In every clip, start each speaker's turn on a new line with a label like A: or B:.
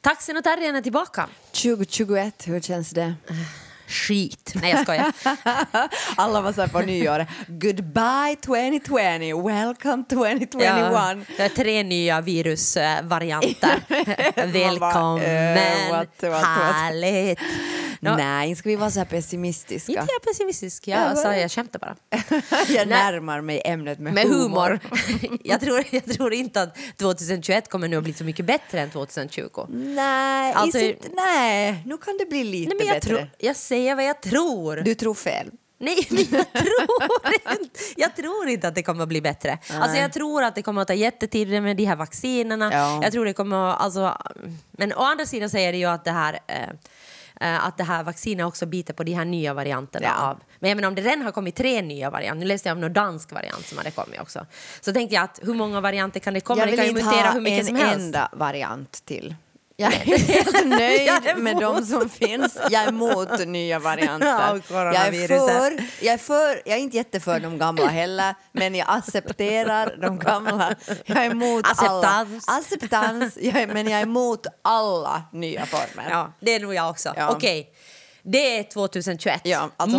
A: Taxin och terriern är tillbaka.
B: 2021, hur känns det?
A: Skit. Nej, jag skojar.
B: Alla var så här på nyår. Goodbye 2020, welcome 2021.
A: Ja, det är tre nya virusvarianter. Välkommen.
B: eh, what, what, what?
A: Härligt. Nå,
B: Nej, ska vi vara så här pessimistiska?
A: Inte jag pessimistisk. Jag, sa, jag skämtar bara.
B: jag närmar mig ämnet med,
A: Med humor. jag, tror, jag tror inte att 2021 kommer nu att bli så mycket bättre än 2020.
B: Nej,
A: Alltså-
B: is it, nej, nu kan det bli lite
A: Nej, men jag,
B: bättre.
A: tror, jag säger vad jag tror.
B: Du tror fel.
A: Nej, men jag tror, inte, jag tror inte att det kommer att bli bättre. Alltså, jag tror att det kommer att ta jättetid med de här vaccinerna.
B: Ja.
A: Jag tror det kommer att, alltså, men å andra sidan säger det ju att det här eh, eh, att det här vaccinet också biter på de här nya varianterna.
B: Ja.
A: Av. Men jag menar, om det redan har kommit tre nya varianter, nu läste jag om någon dansk variant som hade kommit också. Så tänkte jag att hur många varianter kan det komma?
B: jag
A: Det
B: vill
A: kan ju
B: inte
A: mutera
B: ha
A: hur mycket
B: en
A: som helst.
B: enda variant till. Jag är helt nöjd med de som finns. Jag är emot nya
A: Ja, och
B: varianter. Jag är,
A: coronaviruset.
B: för, jag, är för, jag är inte jätteför de gamla heller, men jag accepterar de gamla. Jag är emot
A: Acceptans.
B: alla. Acceptans. Jag är, men jag är emot alla nya former.
A: Ja, det är nog jag också.
B: Ja.
A: Okej. Det är 2021.
B: Ja, alltså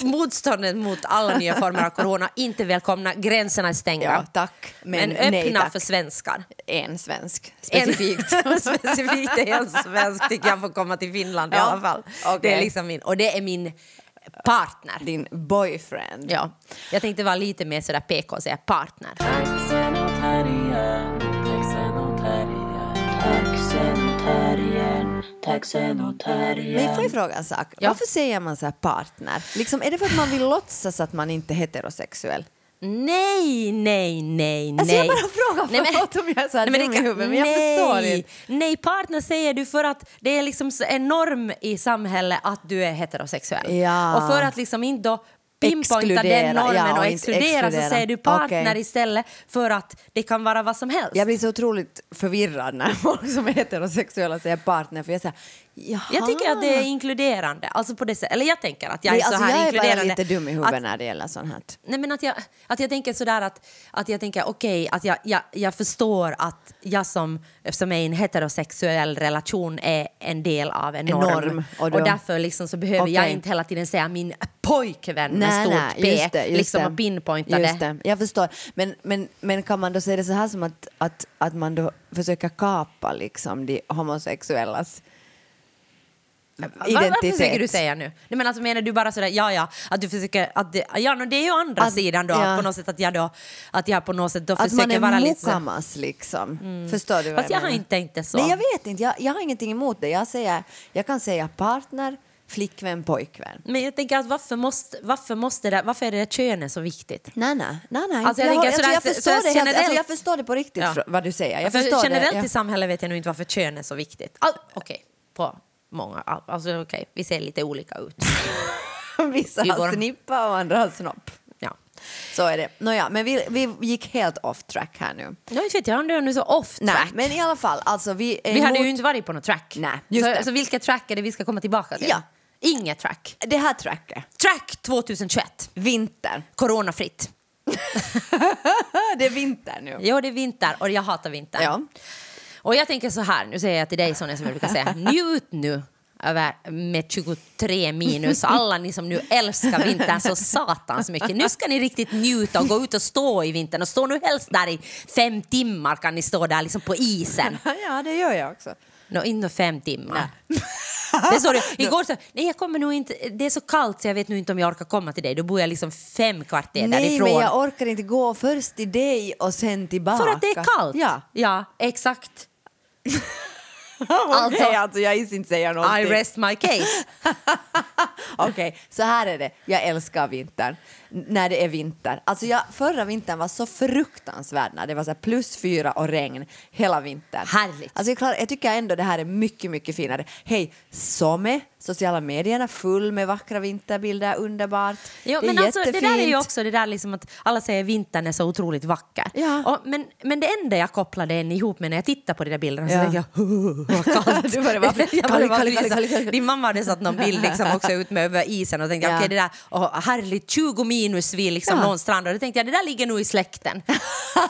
A: Motståndet mot alla nya former av corona. Inte välkomna, gränserna är stängda.
B: Ja, tack, men
A: Men,
B: nej
A: öppna
B: tack.
A: för svenskar.
B: En svensk,
A: En-
B: specifikt.
A: specifikt är en svensk tycker jag får komma till Finland i
B: Ja,
A: alla fall. Det är
B: okej.
A: liksom min, och det är min partner.
B: Din boyfriend.
A: Ja. Jag tänkte vara lite mer sådär PK och säga partner.
C: Axeln och terriern, taxen och terriern, taxen och terriern, taxen och
B: Men får
C: terriern.
B: jag fråga en sak?
A: Ja.
B: Varför säger man så här partner? Liksom, är det för att man vill låtsas att man inte är heterosexuell?
A: Nej, nej, nej, nej.
B: Alltså, jag bara frågar, förlåt om jag är så här dum i
A: kan-
B: huvudet, men jag
A: nej,
B: förstår inte.
A: Nej, partner säger du för att det är liksom så en norm i samhället att du är heterosexuell.
B: Ja.
A: Och för att liksom inte då pinpointa
B: Exkludera,
A: den normen
B: ja, och
A: och
B: inte
A: exkludera,
B: exkludera.
A: så säger du partner
B: Okej.
A: istället för att det kan vara vad som helst.
B: Jag blir så otroligt förvirrad när folk som är heterosexuella säger partner. För jag säger, jaha.
A: Jag tycker att det är inkluderande. Alltså på det sätt- eller jag tänker att jag
B: Nej,
A: är så
B: Ah. alltså,
A: här
B: jag är
A: inkluderande.
B: bara lite dum i huvudet
A: Att,
B: när det gäller sånt här.
A: nej men att jag, att jag tänker sådär att, att jag tänker okej, att jag, jag, jag förstår att jag som, som är i en heterosexuell relation är en del av en
B: En
A: norm.
B: norm, och
A: och,
B: då-
A: därför liksom så behöver jag
B: Okej.
A: inte hela tiden säga min pojkvän med stort P,
B: just det, just
A: liksom
B: det.
A: och pinpointa
B: Just
A: det.
B: det. Jag förstår. Men, men, men kan man då säga det så här som att, att, att man då försöker kapa liksom de homosexuellas
A: Va-
B: identitet?
A: Vad försöker du säga nu? Nej, men alltså, menar du bara sådär, ja ja, att du försöker, att det, ja no, det är ju andra
B: Att-
A: sidan då,
B: ja.
A: att på något sätt att jag då, att jag på något sätt då
B: Att man
A: försöker vara
B: är
A: lite så,
B: mokamas liksom. Förstår du vad
A: Fast jag har
B: menar?
A: inte tänkt det så.
B: Nej, jag vet inte. Jag, jag har ingenting emot det. Jag, säger, jag kan säga partner, flickvän, pojkvän.
A: Men jag tänker att varför måste, varför måste det, varför är det där könet så viktigt?
B: Nej, nej. nej, nej.
A: Alltså, jag
B: jag,
A: tänker
B: har-
A: sådär-
B: jag förstår
A: sådär
B: det helt, alltså, jag
A: generellt-
B: förstår det på riktigt
A: Ja.
B: fr- vad du säger. Jag
A: För
B: förstår
A: Alltså, generellt
B: det.
A: i samhället vet jag nog inte varför kön är så viktigt. All, okej, på många, all, alltså okej, vi ser lite olika ut.
B: Jag, vissa
A: Vi
B: har
A: går-
B: snippa och andra har snopp.
A: Ja.
B: Så är det. Nåja, men vi, vi gick helt off track här nu.
A: Jag vet inte, jag undrar nu så off track.
B: Nej, men i alla fall, alltså vi är
A: vi hade
B: emot-
A: ju inte varit på något track.
B: Nej, just
A: så,
B: det.
A: så vilka track är det vi ska komma tillbaka till?
B: Ja.
A: Inget track.
B: Det här tracket,
A: Track 2021,
B: vinter.
A: coronafritt.
B: det är vinter nu.
A: Jo, det är vinter och jag hatar vinter.
B: Ja.
A: Och jag tänker så här, nu säger jag till dig Sonja som jag brukar säga, njut nu över med 23 minus, alla ni som nu älskar vintern så satans mycket. Nu ska ni riktigt njuta och gå ut och stå i vintern och stå nu helst där i fem timmar kan ni stå där liksom på isen.
B: Ja, det gör jag också.
A: Nå, inte fem timmar. Det såg du. Igår så, nej jag kommer nog inte, det är så kallt så jag vet nu inte om jag orkar komma till dig. Då bor jag liksom fem kvarter
B: Nej,
A: därifrån.
B: men jag orkar inte gå först till dig och sen tillbaka.
A: För att det är kallt.
B: Ja.
A: ja exakt.
B: Alltså,
A: Alltså-
B: Nej, alltså jag is inte säga någonting.
A: I rest my case.
B: Okej, så här är det. Jag älskar vintern. N- När det är vinter. Alltså jag, förra vintern var så fruktansvärd när det var så här plus fyra och regn hela vintern.
A: Härligt.
B: Alltså jag, klarar, jag tycker ändå det här är mycket, mycket finare. Hej, som är sociala medierna full med vackra vinterbilder, underbart.
A: Jo,
B: det är
A: men alltså, det
B: jättefint.
A: där är ju också det där liksom att alla säger att vintern är så otroligt vacker.
B: Ja.
A: Och, men, men det enda jag kopplade den ihop med när jag tittar på de där bilderna så
B: Ja.
A: tänkte jag "Huh, vad kallt.
B: Du började bara frysa.
A: Jag började bara
B: Kallt, kallt,
A: frysa.
B: kallt, kallt, kallt.
A: Din mamma hade satt någon bild liksom också ut med över isen och tänkte
B: Ja.
A: okej det där, och härligt 20 minus vid liksom
B: Ja.
A: någon strand och då tänkte jag det där ligger nog i släkten.
B: ja,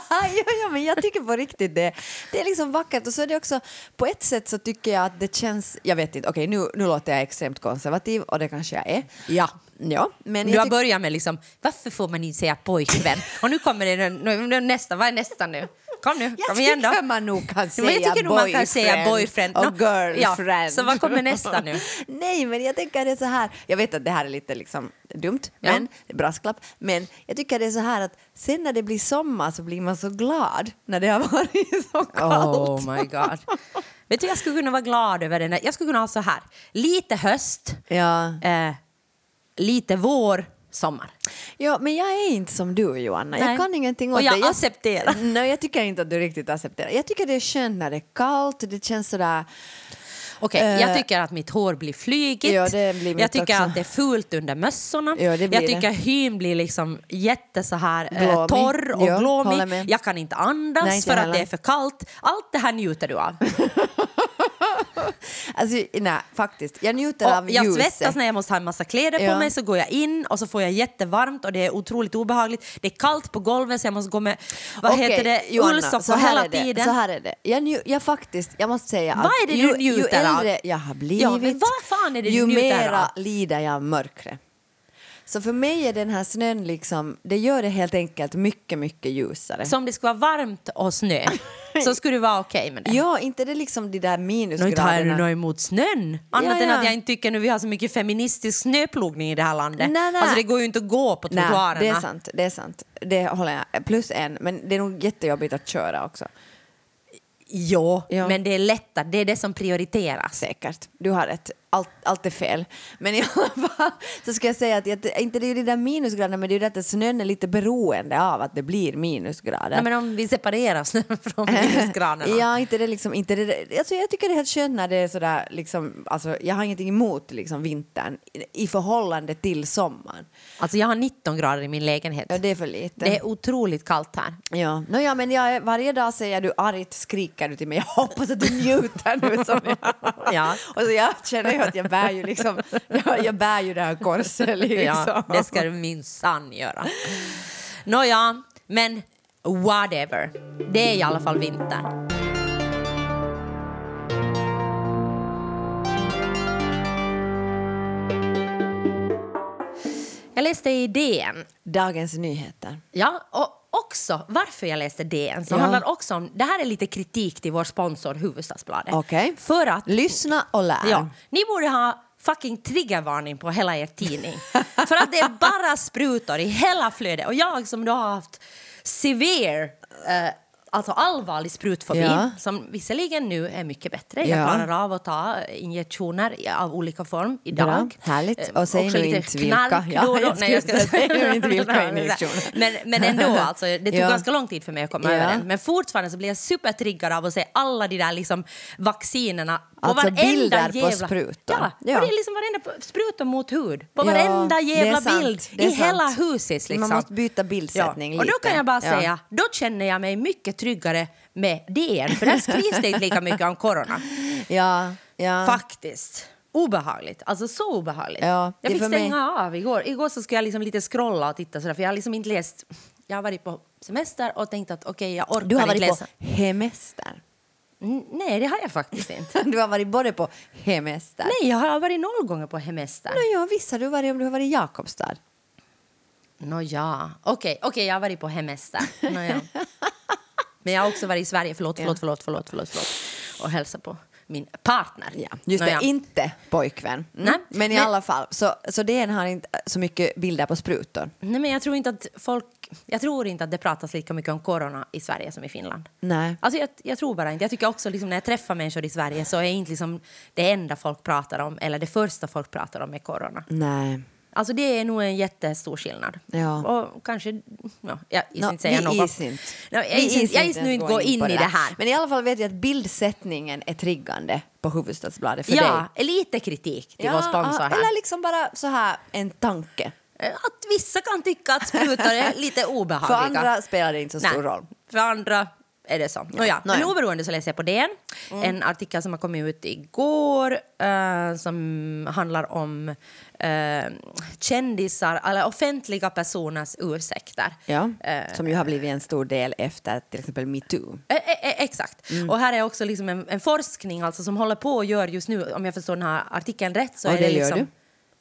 B: ja, men jag tycker på riktigt det. Det är liksom vackert och så är det också, på ett sätt så tycker jag att det känns, jag vet inte, okej nu, nu låter jag extremt konservativ och det kanske jag är.
A: Ja.
B: Ja, men
A: Du
B: jag
A: har
B: tyck-
A: börjat med liksom, varför får man inte säga pojkvän? Och nu kommer det nu- nu, nu, nästa, vad är nästa nu? Kom nu,
B: jag
A: kom igen då.
B: tycker man nog kan
A: Men jag
B: säga
A: tycker nog man kan säga boyfriend.
B: och
A: Nå,
B: girlfriend.
A: Ja, så vad kommer nästa nu?
B: Nej, men jag tänker det är så här. Jag vet att det här är lite liksom dumt,
A: Ja.
B: men brasklapp. Men jag tycker det är så här att sen när det blir sommar så blir man så glad när det har varit så kallt.
A: Oh my god. Vet du, jag skulle kunna vara glad över den där. Jag skulle kunna ha så här, lite höst,
B: Ja.
A: eh, lite vår, sommar.
B: ja, men jag är inte som du Joanna.
A: Nej.
B: Jag kan ingenting
A: Och
B: åt
A: jag
B: det.
A: accepterar.
B: Nej, jag tycker inte att du riktigt accepterar. Jag tycker det är skönt när det är kallt och det känns sådär...
A: Okej,
B: Eh.
A: jag tycker att mitt hår blir flygigt.
B: Ja, det blir mitt
A: jag tycker
B: också.
A: att det är fult under mössorna.
B: Ja, det
A: jag
B: blir det.
A: tycker hyn blir liksom jätte så här eh,
B: Glåmig.
A: torr och
B: Ja, håller
A: glåmig.
B: med.
A: Jag kan inte andas
B: Nej, inte
A: för
B: jag
A: att det är
B: heller.
A: för kallt. Allt det här njuter du av.
B: Alltså, nej, faktiskt. Jag njuter
A: Och
B: av
A: jag
B: ljuset.
A: svettas när jag måste ha en massa kläder på
B: Ja.
A: mig så går jag in och så får jag jättevarmt och det är otroligt obehagligt. Det är kallt på golvet så jag måste gå med, vad
B: Okej,
A: heter det,
B: Johanna, så
A: ullsockor
B: här
A: hela
B: är det,
A: tiden.
B: Så här är det. Jag, nju- jag faktiskt, jag måste säga
A: Vad är det du
B: ju,
A: njuter
B: ju
A: av?
B: äldre jag har blivit,
A: Ja, men vad fan är det du
B: ju
A: njuter
B: mera
A: av?
B: lider jag av mörkret. Så för mig är den här snön liksom, det gör det helt enkelt mycket, mycket ljusare.
A: Så om det skulle vara varmt och snö så skulle det vara okej med det.
B: Ja, inte det liksom de där
A: Nu tar jag
B: minusgraderna.
A: något emot snön. Annat
B: Ja,
A: än
B: ja.
A: att jag inte tycker nu vi har så mycket feministisk snöplogning i det här landet.
B: Nej, nej.
A: Alltså det går ju inte att gå på trottoarerna.
B: Nej, det är sant, det är sant. Det håller jag. Plus en, men det är nog jättejobbigt att köra också.
A: Jo,
B: Ja.
A: men det är lättare. Det är det som prioriteras.
B: Säkert, du har rätt. Allt, allt är fel. Men i alla fall så ska jag säga att jag, inte det är ju de där minusgraderna men det är ju det att snön är lite beroende av att det blir minusgrader.
A: Nej, men om vi separerar snön från minusgraderna.
B: Ja, inte det liksom, inte det, alltså jag tycker det är helt skönt när det är sådär, liksom, alltså, jag har ingenting emot liksom, vintern i, i förhållande till sommaren.
A: Alltså jag har 19 grader i min lägenhet.
B: Ja, det är för lite.
A: Det är otroligt kallt här.
B: Ja. No, ja, men jag, är- varje dag säger du argt, skriker du till mig, jag hoppas att du njuter nu. Som jag.
A: Ja.
B: Och så jag känner ju att jag bär ju, liksom, jag, jag bär ju det här korset. Liksom.
A: Ja, det ska du minsann göra. Nåja, men whatever. Det är i alla fall vinter. Jag läste i DN
B: Dagens nyheter.
A: Ja, och också varför jag läste DN som
B: Ja.
A: handlar också om, det här är lite kritik till vår sponsor Hufvudstadsbladet.
B: Okej.
A: För att,
B: Lyssna och lär.
A: ja, ni borde ha fucking triggervarning på hela er tidning. för att det är bara sprutor i hela flödet och jag som då har haft severe eh, Alltså allvarlig sprutfobi,
B: Ja.
A: som visserligen nu är mycket bättre.
B: Ja.
A: Jag klarar av att ta injektioner i- av olika form idag.
B: Bra, härligt.
A: Eh,
B: Och säg
A: också
B: nu
A: lite
B: inte vilka.
A: knark
B: Ja,
A: då och då.
B: jag
A: Nej, jag
B: skulle
A: ska-
B: säga, säg nu inte vilka injektioner.
A: Men, men ändå, alltså, det tog
B: Ja.
A: ganska lång tid för mig att komma
B: Ja.
A: över den. Men fortfarande så blir jag supertriggad av att se alla de där liksom, vaccinerna. På
B: Alltså,
A: varenda
B: bilder på
A: jävla...
B: sprutor.
A: Ja,
B: Ja.
A: och det är liksom varenda sprutor mot hud. På
B: Ja,
A: varenda
B: det är
A: jävla
B: sant,
A: bild
B: det är
A: i hela
B: sant.
A: huset. Liksom.
B: Man måste byta bildsättning
A: ja. Och då
B: lite.
A: kan jag bara
B: Ja.
A: säga, då känner jag mig mycket tryggare med DN. För där skrivs det inte lika mycket om corona.
B: Ja, ja.
A: Faktiskt. Obehagligt. Alltså så obehagligt.
B: Ja, det
A: jag fick
B: för mig-
A: stänga av igår. Igår så skulle jag liksom lite scrolla och titta sådär, för jag har liksom inte läst. Jag har varit på semester och tänkt att okej, jag orkar
B: Du har
A: inte
B: varit på
A: läsa.
B: hemester.
A: Mm, Nej, det har jag faktiskt inte.
B: Du har varit både på hemester.
A: Nej, jag har varit noll gånger på hemester.
B: Nej, ja, visst har du varit om du har varit i Jakobstad.
A: Nåja, okej, okej, jag har varit på hemester. Nåja. Men jag har också varit i Sverige, förlåt, förlåt, förlåt, förlåt, förlåt, förlåt. och hälsat på min partner.
B: Ja, just
A: Nåja.
B: det, inte pojkvän. Mm.
A: Nej,
B: men i
A: men-
B: alla fall, så, så DN har inte så mycket bilder på sprutor.
A: Nej, men jag tror inte att folk... Jag tror inte att det pratas lika mycket om corona i Sverige som i Finland.
B: Nej.
A: Alltså jag, jag tror bara inte. Jag tycker också liksom, när jag träffar människor i Sverige så är inte liksom det enda folk pratar om eller det första folk pratar om är corona.
B: Nej.
A: Alltså det är nog en jättestor skillnad.
B: Ja.
A: Och kanske... Ja, jag is
B: Nå,
A: inte säga
B: vi
A: något.
B: is inte.
A: Nå, jag
B: Vi
A: is, inte, jag is
B: ens
A: nu inte gå in,
B: på
A: i det här.
B: Men i alla fall vet jag att bildsättningen är triggande på Hufvudstadsbladet för dig.
A: ja, lite kritik till vår sponsor här.
B: Eller liksom bara så här en tanke.
A: Att vissa kan tycka att sprutor är lite
B: För
A: obehagliga.
B: andra spelar det inte så stor
A: Nej.
B: roll.
A: För andra är det så. Nåja, Mm. men
B: Nåja.
A: oberoende så läser jag på DN. En artikel som har kommit ut igår eh, som handlar om eh, kändisar, eller offentliga personers ursäkter.
B: Ja,
A: Eh,
B: som ju har blivit en stor del efter till exempel metoo.
A: Eh, eh, eh, Exakt.
B: Mm.
A: Och här är också liksom en, en forskning alltså som håller på och gör just nu, om jag förstår den här artikeln rätt. Så
B: Och
A: är det
B: det gör
A: liksom,
B: du?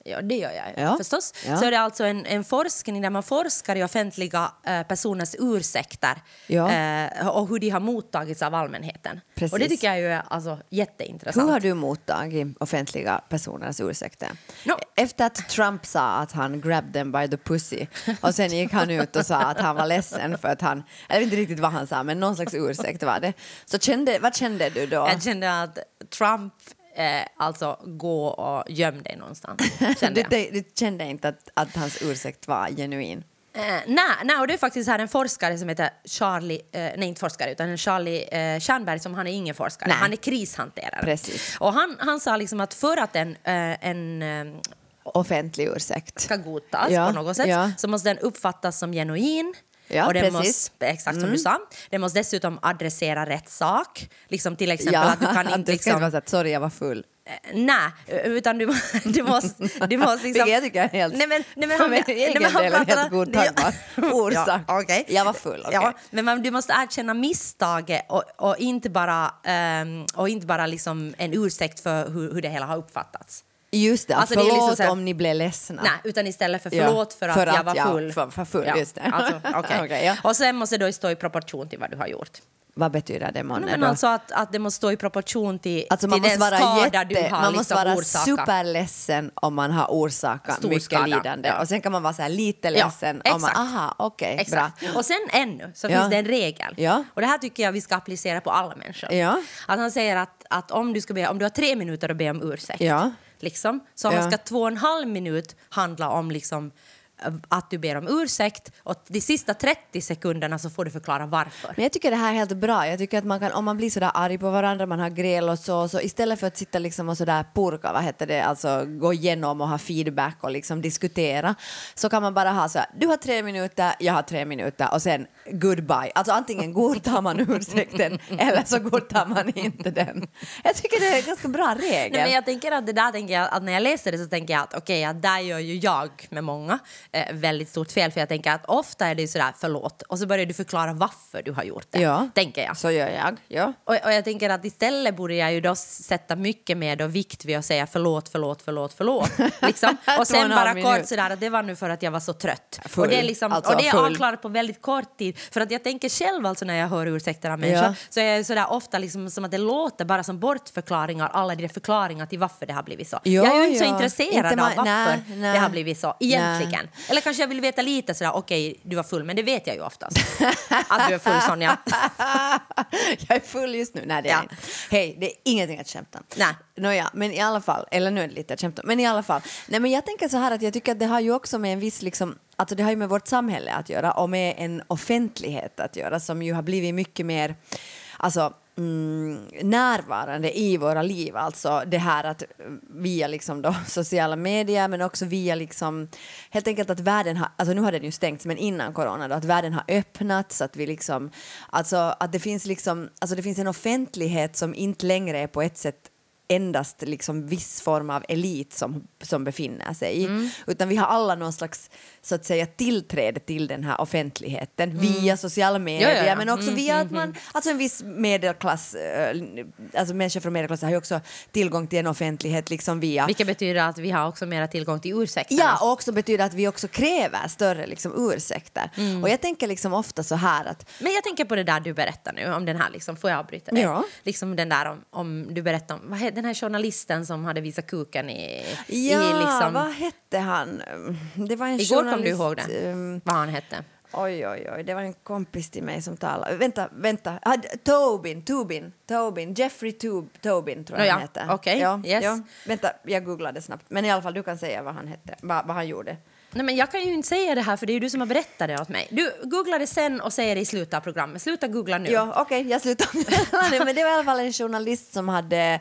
A: Ja, det gör jag
B: Ja.
A: förstås.
B: Ja.
A: Så är det alltså en, en forskning där man forskar i offentliga eh, personers ursäkter
B: Ja.
A: eh, och hur de har mottagits av allmänheten.
B: Precis.
A: Och det tycker jag ju är alltså, jätteintressant.
B: Hur har du mottagit offentliga personers ursäkter?
A: No.
B: Efter att Trump sa att han grabbed them by the pussy och sen gick han ut och sa att han var ledsen för att han, jag vet inte riktigt vad han sa, men någon slags ursäkt var det. Så kände, vad kände du då?
A: Jag kände att Trump eh, alltså gå och göm dig någonstans. Kände
B: Du,
A: jag.
B: du, du kände inte att, att hans ursäkt var genuin?
A: Eh, nej, nej, och det är faktiskt här en forskare som heter Charlie, eh, nej inte forskare utan en Charlie eh, Stjernberg som han är ingen forskare,
B: Nej.
A: han är krishanterare.
B: Precis.
A: Och han, han sa liksom att för att en, eh, en eh,
B: Offentlig ursäkt.
A: ska godtas
B: Ja,
A: på något sätt
B: ja.
A: så måste den uppfattas som genuin.
B: Ja,
A: och den
B: precis. Mm.
A: Måste, exakt som du sa. Den måste dessutom adressera rätt sak. Liksom till exempel att du kan inte...
B: det ska
A: Liksom,
B: inte vara så att sorry jag var full.
A: Eh, Nej, utan du, du måste... Du måste liksom,
B: Vilket jag tycker är helt...
A: Nej, men, nej, men
B: för
A: han-
B: min
A: nej,
B: egen
A: men han
B: del är det
A: pratar-
B: helt godtagbar orsak.
A: Ja, okej.
B: Jag var full, okej.
A: Ja, men man, du måste erkänna misstaget och, och inte bara, ehm, och inte bara liksom en ursäkt för hur, hur det hela har uppfattats.
B: Just det,
A: Alltså, det är
B: förlåt
A: liksom så här-
B: om ni blev ledsna.
A: Nej, utan istället för
B: Ja,
A: förlåt för, att
B: för
A: jag
B: att
A: var
B: jag
A: full.
B: var- var full, just det.
A: Alltså, okej.
B: Okej, ja.
A: Och sen måste det då stå i proportion till vad du har gjort.
B: Vad betyder det månne
A: Men
B: då?
A: alltså att, att det måste stå i proportion till,
B: Alltså man
A: till
B: måste
A: den
B: vara,
A: skada du
B: jätte,
A: har
B: man måste
A: liksom
B: vara
A: orsakat.
B: superledsen om man har orsakat
A: Stor
B: mycket
A: skada,
B: lidande.
A: ja.
B: Och sen kan man vara så här lite
A: Ja,
B: ledsen om man,
A: exakt.
B: aha, okej, bra.
A: Exakt. Och sen ännu så
B: Ja.
A: finns det en regel.
B: Ja.
A: Och det här tycker jag vi ska applicera på alla människor.
B: Ja.
A: Att han säger att, att om, du ska be, om du har tre minuter att be om ursäkt,
B: Ja.
A: liksom, så
B: Ja.
A: ska två och en halv minut handla om liksom, eh, att du ber om ursäkt och de sista 30 sekunderna så får du förklara varför.
B: Men jag tycker det här är helt bra. Jag tycker att man kan, om man blir sådär arg på varandra, man har gräl och så, så istället för att sitta liksom och sådär purka, vad heter det, alltså gå igenom och ha feedback och liksom diskutera, så kan man bara ha så här, du har tre minuter, jag har tre minuter och sen goodbye. Alltså antingen godtar man ursäkten eller så godtar man inte den. Jag tycker det är en ganska bra regel.
A: Nej, men jag tänker att det där tänker jag, att när jag läser det så tänker jag att okej, att där gör ju jag med många eh, väldigt stort fel för jag tänker att ofta är det ju sådär förlåt och så börjar du förklara varför du har gjort det.
B: Ja.
A: Tänker jag.
B: Så gör jag, ja.
A: Och, och jag tänker att istället borde jag ju då sätta mycket mer då vikt vid att säga förlåt, förlåt, förlåt, förlåt. Liksom. Och
B: Två och
A: sen
B: en
A: bara
B: halv
A: kort
B: minut.
A: sådär att det var nu för att jag var så trött.
B: Full,
A: och det är, liksom,
B: alltså
A: och det är
B: full.
A: avklarat på väldigt kort tid. För att jag tänker själv alltså när jag hör ursäkter av människor
B: Ja.
A: så är jag ju sådär ofta liksom som att det låter bara som bortförklaringar, alla de där förklaringar till varför det har blivit så.
B: Ja,
A: jag är ju inte så
B: ja.
A: intresserad
B: Inte
A: av
B: man-
A: varför
B: nej, nej.
A: det har blivit så egentligen.
B: Nej.
A: Eller kanske jag vill veta lite sådär, okej du var full men det vet jag ju oftast. att du är full Sonja.
B: jag är full just nu. Nej, det är
A: Ja.
B: jag inte. Hej, det är ingenting att skämta om.
A: Nej.
B: Nåja, men i alla fall, eller nu är det lite att skämta om, men i alla fall. Nej, men jag tänker så här att jag tycker att det har ju också med en viss liksom Alltså det har ju med vårt samhälle att göra och med en offentlighet att göra som ju har blivit mycket mer alltså, mm, närvarande i våra liv. Alltså det här att eh, via liksom då sociala medier men också via liksom helt enkelt att världen har, alltså nu har den ju stängts men innan corona då, att världen har öppnats, att vi liksom, alltså att det finns liksom, alltså det finns en offentlighet som inte längre är på ett sätt endast liksom viss form av elit som, som befinner sig i.
A: Mm.
B: Utan vi har alla någon slags så att säga, tillträde till den här offentligheten via sociala medier
A: Mm. Ja, Mm, ja, ja.
B: men också via att man, alltså en viss medelklass, eh, alltså människor från medelklassen har ju också tillgång till en offentlighet liksom via
A: Vilket betyder att vi har också mera tillgång till ursäkter.
B: Ja, och också betyder att vi också kräver större liksom, ursäkter.
A: Mm.
B: Och jag tänker liksom ofta så här att
A: Men jag tänker på det där du berättar nu om den här, liksom, får jag avbryta dig?
B: Ja.
A: Liksom den där om, om du berättar om, vad he- den här journalisten som hade visat kuken i... i
B: Ja,
A: liksom,
B: vad hette han? Det var en
A: igår kom du ihåg
B: journalist,
A: det,
B: ehm,
A: vad han hette.
B: Oj, oj, oj, det var en kompis till mig som talade. Vänta, vänta. Ah, Tobin, Tobin, Tobin, Jeffrey Tob, Tobin tror jag
A: Nåja,
B: han hette.
A: okej,
B: ja,
A: yes.
B: ja. Vänta, jag googlade snabbt. Men i alla fall, du kan säga vad han hette, vad, vad han gjorde.
A: Nej, men jag kan ju inte säga det här för det är ju du som har berättat det åt mig. Du googlar det sen och säger det i slutet av programmet. Sluta googla nu.
B: Ja, okej, jag slutar med det. Men det var i alla fall en journalist som hade,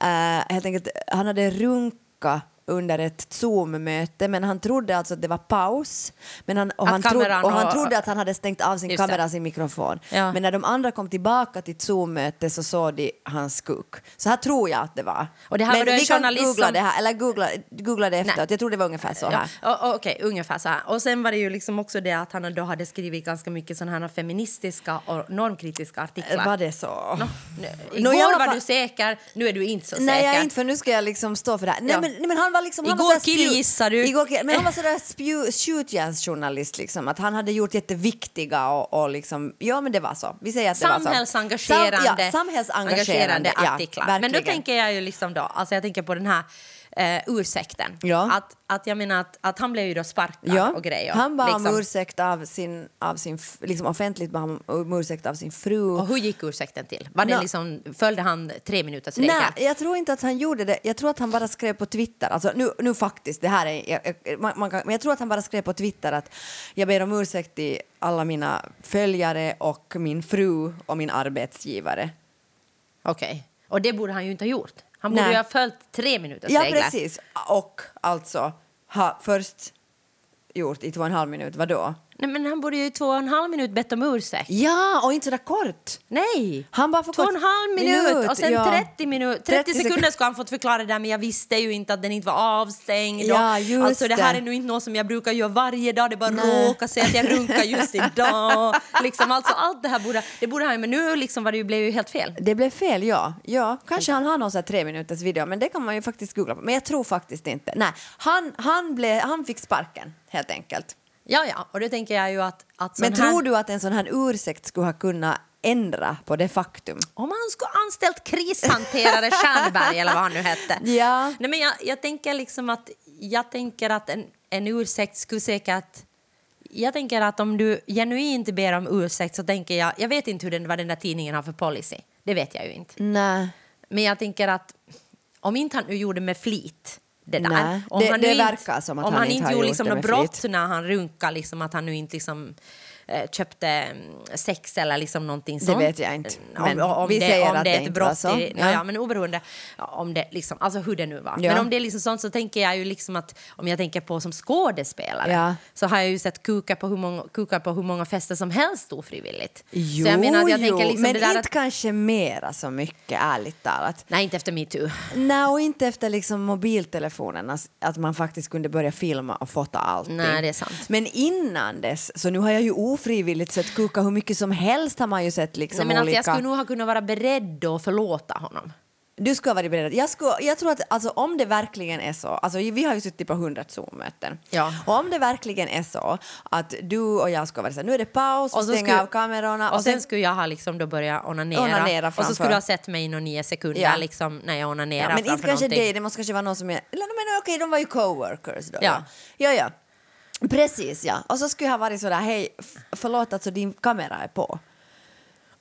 B: eh, helt enkelt, han hade runka under ett Zoom-möte men han trodde alltså att det var paus. Men han, och,
A: Att
B: han trodde,
A: kameran
B: och han
A: och-
B: trodde att han hade stängt av sin
A: Just det.
B: kamera och sin mikrofon.
A: Ja.
B: Men när de andra kom tillbaka till Zoom-mötet så såg de hans kuk. Så här tror jag att det var.
A: Och det här
B: men
A: var då en
B: vi kan
A: journalist
B: googla
A: som-
B: det här, eller googla, googla det
A: Nej.
B: efteråt. Jag tror det var ungefär så här.
A: Ja, o- o- Okej, ungefär så här. Och sen var det ju liksom också det att han då hade skrivit ganska mycket sådana här feministiska och normkritiska artiklar.
B: Var det så?
A: Nå, nu, igår
B: Eh, Nå, i alla
A: var
B: fall-
A: du säker, nu är du inte så säker.
B: Nej, jag är inte för nu ska jag liksom stå för det här. Nej,
A: Ja.
B: men, nej, men han var liksom... Han
A: Igår
B: var sådär spju-
A: killgissar du.
B: Igår, kill- men han var sådär spju- skjutjärnsjournalist liksom. Att han hade gjort jätteviktiga och, och liksom... Ja, men det var så. Vi säger att det var så.
A: samhällsengagerande,
B: Sam, ja, samhällsengagerande ja,
A: artiklar. Men
B: verkligen.
A: då tänker jag ju liksom då, alltså jag tänker på den här eh, ursäkten.
B: Ja.
A: Att, att jag menar att, att han blev ju då sparkad
B: Ja.
A: och grejer.
B: han bad
A: liksom.
B: om ursäkt av sin, av sin, f- liksom offentligt bad han om ursäkt av sin fru.
A: Och hur gick ursäkten till? Var det
B: Nå.
A: liksom, följde han tre minuters regeln?
B: Nej, jag tror inte att han gjorde det. Jag tror att han bara skrev på Twitter. Alltså, nu, nu faktiskt, det här är... Jag, jag, man, man kan, men jag tror att han bara skrev på Twitter att jag ber om ursäkt till alla mina följare och min fru och min arbetsgivare.
A: Okej. Och det borde han ju inte ha gjort. Han borde
B: Nej.
A: ju ha följt tre minuters
B: Ja,
A: regler.
B: precis. Och alltså ha först gjort i två och en halv minut, vadå?
A: Nej, men han borde ju i två och en halv minut bett om ursäkt.
B: Ja, och inte sådär kort!
A: Nej!
B: Han bara får
A: Två och en
B: kort-
A: halv minut, och sen
B: ja.
A: 30, minut, 30,
B: 30 sekunder.
A: sekunder skulle han fått förklara det där men jag visste ju inte att den inte var avstängd. och-
B: Ja, just
A: alltså det här
B: det.
A: är nu inte något som jag brukar göra varje dag, det bara
B: Nej.
A: råkar sig att jag runkar just idag. liksom, alltså, allt det här borde, det borde han ju, men nu liksom var det ju, blev ju helt fel.
B: Det blev fel, ja. ja. Kanske han har någon så här tre minuters video, men det kan man ju faktiskt googla på. Men jag tror faktiskt inte. Nej, han, han, blev, han fick sparken, helt enkelt.
A: Ja, ja, och då tänker jag ju att... att sån
B: Men
A: här-
B: tror du att en sån här ursäkt skulle ha kunnat ändra på det faktum?
A: Om han skulle ha anställt krishanterare Stjernberg eller vad han nu hette.
B: Ja.
A: Nej, men jag, jag tänker liksom att, jag tänker att en, en ursäkt skulle säkert... Jag tänker att om du genuint ber om ursäkt så tänker jag... Jag vet inte hur den, vad den där tidningen har för policy. Det vet jag ju inte.
B: Nej.
A: Men jag tänker att om inte han nu gjorde med flit det där.
B: Nej,
A: om
B: det-
A: han nu
B: det
A: inte-
B: verkar som att
A: Om
B: han
A: han,
B: inte har
A: inte gjorde
B: gjort
A: liksom
B: det
A: något
B: med
A: brott
B: flit.
A: när han runkade, liksom, att han nu inte liksom, eh, köpte mm, sex eller liksom någonting sånt. Eh,
B: vet jag inte,
A: Om,
B: men
A: om,
B: vi
A: det,
B: säger
A: om
B: att
A: det
B: det
A: är ett
B: inte var
A: brott.
B: så.
A: I,
B: Ja.
A: ja. men oberoende om det liksom, alltså hur det nu var.
B: Ja.
A: Men om det är liksom sånt så tänker jag ju liksom att om jag tänker på som skådespelare
B: Ja.
A: så har jag ju sett kukar på hur många, kukar på hur många fester som helst ofrivilligt.
B: Jo,
A: så jag menar att jag
B: jo,
A: tänker liksom
B: men
A: det där
B: inte
A: att,
B: kanske mera så mycket, ärligt talat.
A: Nej, inte efter metoo.
B: Nej, och inte efter liksom mobiltelefonerna, att man faktiskt kunde börja filma och fota allting.
A: Nej, det är sant.
B: Men innan dess, så nu har jag ju ofrivilligt sett kuka hur mycket som helst har man ju sett liksom
A: Nej, men alltså,
B: olika...
A: jag skulle nog ha kunnat vara beredd att förlåta honom.
B: Du skulle ha varit beredd. Jag, skulle, jag tror att alltså, om det verkligen är så, alltså, vi har ju suttit på hundra Zoom-möten,
A: Ja.
B: och om det verkligen är så att du och jag skulle vara så här, nu är det paus, och
A: så
B: stänga
A: skulle-
B: av kamerorna
A: Och, sen, skulle jag ha liksom då börjat onanera.
B: Onanera
A: och
B: framför.
A: så skulle du ha sett mig i några nio sekunder
B: Ja.
A: liksom, när jag onanerar
B: Ja, men inte
A: framför
B: kanske
A: någonting.
B: det, det måste kanske vara någon som är... Eller, men okej, de var ju coworkers då.
A: Ja.
B: ja. ja, ja. Precis, ja. Och så skulle jag ha varit sådär, hej, f- förlåt alltså din kamera är på.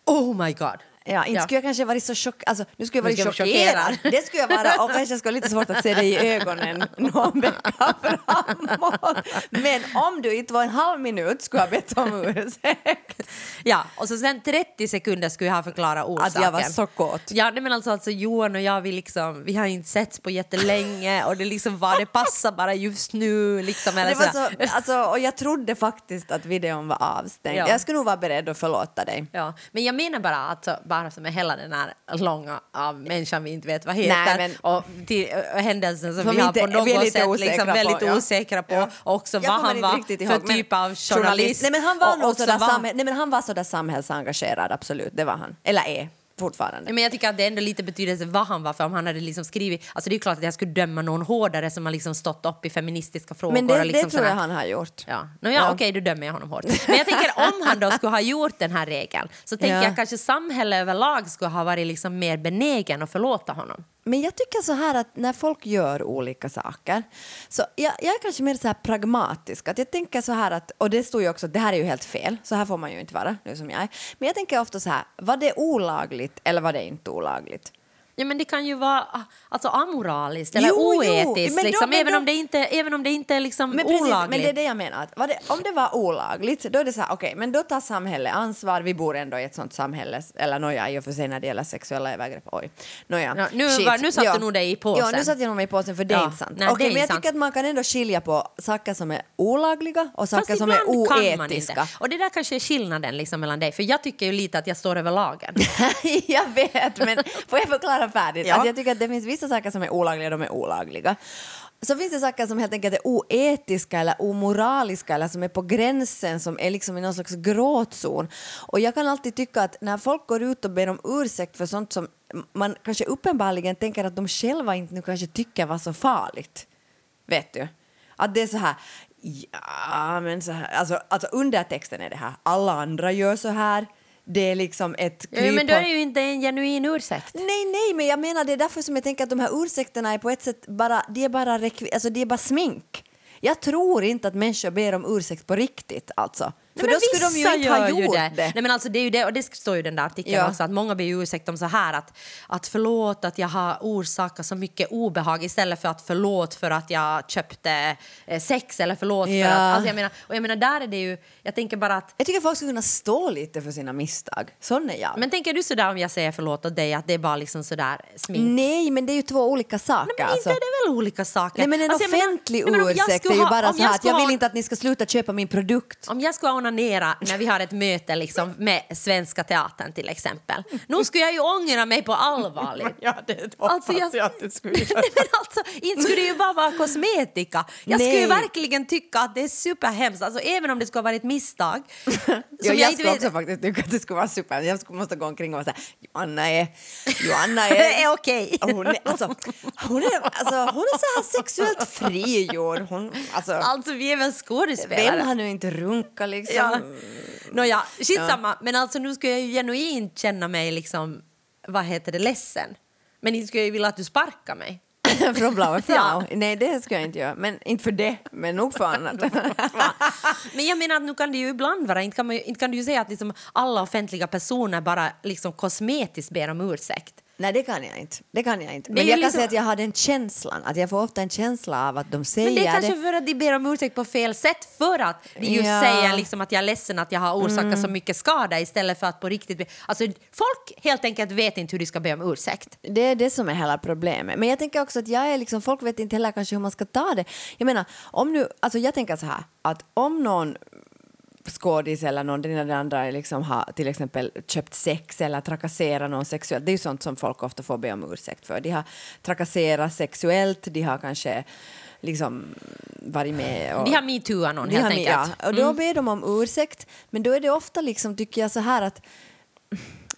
A: Oh my god!
B: Ja, inte skulle jag kanske varit så chock... Alltså, nu skulle jag
A: Nu
B: varit
A: skulle jag vara
B: chockerad.
A: chockerad.
B: Det skulle jag vara. Och kanske skulle ha lite svårt att se dig i ögonen någon vecka framåt. Men om du i två och en halv minut skulle ha bett om ursäkt.
A: Ja, och så sen 30 sekunder skulle jag ha förklarat orsaken.
B: Att jag var så kåt.
A: Ja, nej, men alltså, alltså Johan och jag, vi, liksom, vi har inte setts på jättelänge och det liksom var, det passar bara just nu. Liksom, eller
B: Det var
A: sådär.
B: så, alltså, och jag trodde faktiskt att videon var avstängd.
A: Ja.
B: Jag skulle nog vara beredd att förlåta dig.
A: Ja, men jag menar bara att så- bara som med hela den här långa av människan vi inte vet vad heter
B: Nej, men-
A: och, till, och händelsen som,
B: Som
A: vi har
B: inte-
A: på
B: vi är
A: något
B: lite
A: sätt
B: osäkra
A: liksom,
B: på,
A: väldigt
B: ja.
A: osäkra på
B: Ja.
A: och också
B: Jag
A: vad
B: kommer
A: han
B: inte
A: var
B: riktigt
A: för
B: ihåg, men-
A: typ av journalist.
B: Nej, men han var
A: och
B: nog
A: också
B: sådär,
A: vad-
B: samhäll, nej, men han var sådär samhällsengagerad, absolut. Det var han. Eller är fortfarande.
A: Nej, Men jag tycker att det ändå lite betydelse vad han var för om han hade liksom skrivit, alltså det är klart att jag skulle döma någon hårdare som har liksom stått upp i feministiska frågor.
B: Men det,
A: och liksom
B: det tror jag
A: sådär.
B: han har gjort.
A: Ja. Nå, ja,
B: Ja.
A: Okej, då dömer jag honom hårt. Men jag tänker om han då skulle ha gjort den här regeln så tänker
B: Ja.
A: jag kanske samhället överlag skulle ha varit liksom mer benägen att förlåta honom.
B: Men jag tycker så här att när folk gör olika saker, så jag, jag är kanske mer så här pragmatisk. Att jag tänker så här att, och det står ju också att det här är ju helt fel, så här får man ju inte vara nu som jag är. Men jag tänker ofta så här, var det olagligt eller var det inte olagligt?
A: Ja, men det kan ju vara ah, alltså, amoraliskt
B: Jo,
A: eller
B: jo,
A: oetiskt,
B: men då-
A: liksom,
B: men
A: även,
B: då-
A: om det inte, även om det inte är liksom
B: Men precis,
A: olagligt.
B: men det är det jag menar. Att var det, om det var olagligt, då är det så här, okej, men då tar samhället ansvar. Vi bor ändå i ett sånt samhälle, eller nåja, i och för sig när det gäller sexuella övergrepp, oj. Nåja,
A: Ja, nu
B: skit.
A: var- nu satte du nog dig i påsen.
B: Ja, nu satte jag nog mig i påsen, för det är
A: Ja,
B: inte sant.
A: nej, det
B: Okej,
A: är
B: men jag
A: inte sant.
B: tycker att man kan ändå skilja på saker som är olagliga och
A: Fast
B: saker som är
A: ibland kan man
B: oetiska.
A: inte. Och det där kanske är skillnaden liksom, mellan dig, för jag tycker ju lite att jag står över lagen.
B: jag vet, men får jag förklara färdigt?
A: Ja.
B: Att jag tycker att det finns vissa saker som är olagliga, de är olagliga. Så finns det saker som helt enkelt är oetiska eller omoraliska eller som är på gränsen, som är liksom i någon slags gråtzon. Och jag kan alltid tycka att när folk går ut och ber om ursäkt för sånt som man kanske uppenbarligen tänker att de själva inte nu kanske tycker var så farligt. Vet du? Att det är så här, ja men så här, alltså, alltså undertexten är det här, alla andra gör så här, det är liksom ett
A: Ja, men då är det ju inte en genuin ursäkt.
B: Nej, nej, men jag menar det är därför som jag tänker att de här ursäkterna är på ett sätt bara, det är bara, rekvi- alltså, det är bara smink. Jag tror inte att människor ber om ursäkt på riktigt alltså. För
A: Nej, men
B: då skulle de ju
A: vissa
B: inte ha
A: gör ju
B: gjort det.
A: Nej, men alltså, det, är ju det. Och det står ju i den där artikeln
B: Ja.
A: också, att många ber ju ursäkt om så här att, att förlåt att jag har orsakat så mycket obehag istället för att förlåt för att jag köpte eh, sex eller förlåt
B: Ja.
A: för att... Alltså, jag menar, och jag menar, där är det ju... Jag tänker bara att...
B: Jag tycker folk ska kunna stå lite för sina misstag. Sån är jag.
A: Men tänker du sådär om jag säger förlåt åt dig, att det är bara liksom sådär smink?
B: nej, men det är ju två olika saker.
A: Nej, men
B: Mm, alltså.
A: inte är det väl olika saker?
B: nej, men en
A: Alltså, jag menar-
B: offentlig
A: Nej, men om jag
B: ursäkt
A: skulle
B: är ju
A: ha-
B: bara
A: om
B: så här att jag
A: skulle
B: vill
A: ha-
B: inte att ni ska sluta köpa min produkt.
A: Om jag skulle onanera när vi har ett möte liksom, med Svenska Teatern till exempel, nu skulle jag ju ångra mig på allvarligt.
B: Ja, det
A: Alltså, jag-
B: att du skulle göra.
A: Nej, men alltså, inte skulle det ju bara vara kosmetika. Jag skulle ju
B: Nej.
A: verkligen tycka att det är superhemskt, alltså, även om det skulle ha varit misstag. som
B: Ja, jag, skulle också faktiskt tycka att det skulle vara super. Jag skulle måste gå omkring och vara så här, Joanna är... Joanna är...
A: Är okej.
B: Hon är, alltså, hon är, alltså, hon är så här sexuellt frigjord. Hon, alltså,
A: Alltså vi är väl skådespelare?
B: vem har nu inte runkat liksom?
A: Ja. Nåja, skitsamma. Men alltså nu skulle jag ju genuint känna mig liksom, vad heter det, ledsen. Men inte skulle jag ju vilja att du sparkar mig.
B: Från Blaue Frau?
A: Ja.
B: Nej, det skulle jag inte göra. Men inte för det, men nog för annat.
A: Men jag menar att nu kan det ju ibland vara, inte kan, man, ju- inte kan du ju säga att liksom alla offentliga personer bara liksom kosmetiskt ber om ursäkt.
B: Nej, det kan jag inte. Det kan jag inte.
A: Det
B: Men
A: är
B: jag kan
A: liksom-
B: säga att jag har den känslan, att jag får ofta en känsla av att de säger
A: Men det är
B: det.
A: kanske för att de ber om ursäkt på fel sätt för att de just
B: Ja. Mm.
A: säger liksom att jag är ledsen att jag har orsakat så mycket skada istället för att på riktigt... be- Alltså folk helt enkelt vet inte hur de ska be om ursäkt.
B: Det är det som är hela problemet. Men jag tänker också att jag är liksom, folk vet inte heller kanske hur man ska ta det. Jag menar, om nu, alltså jag tänker så här, att om någon skådis eller någon den eller andra liksom har till exempel köpt sex eller trakasserat någon sexuellt, det är ju sånt som folk ofta får be om ursäkt för. De har trakasserat sexuellt, de har kanske liksom varit med och...
A: De har metooat någon
B: De
A: helt
B: har med-
A: enkelt. Mm.
B: Ja, och då ber de om ursäkt, men då är det ofta liksom, tycker jag så här att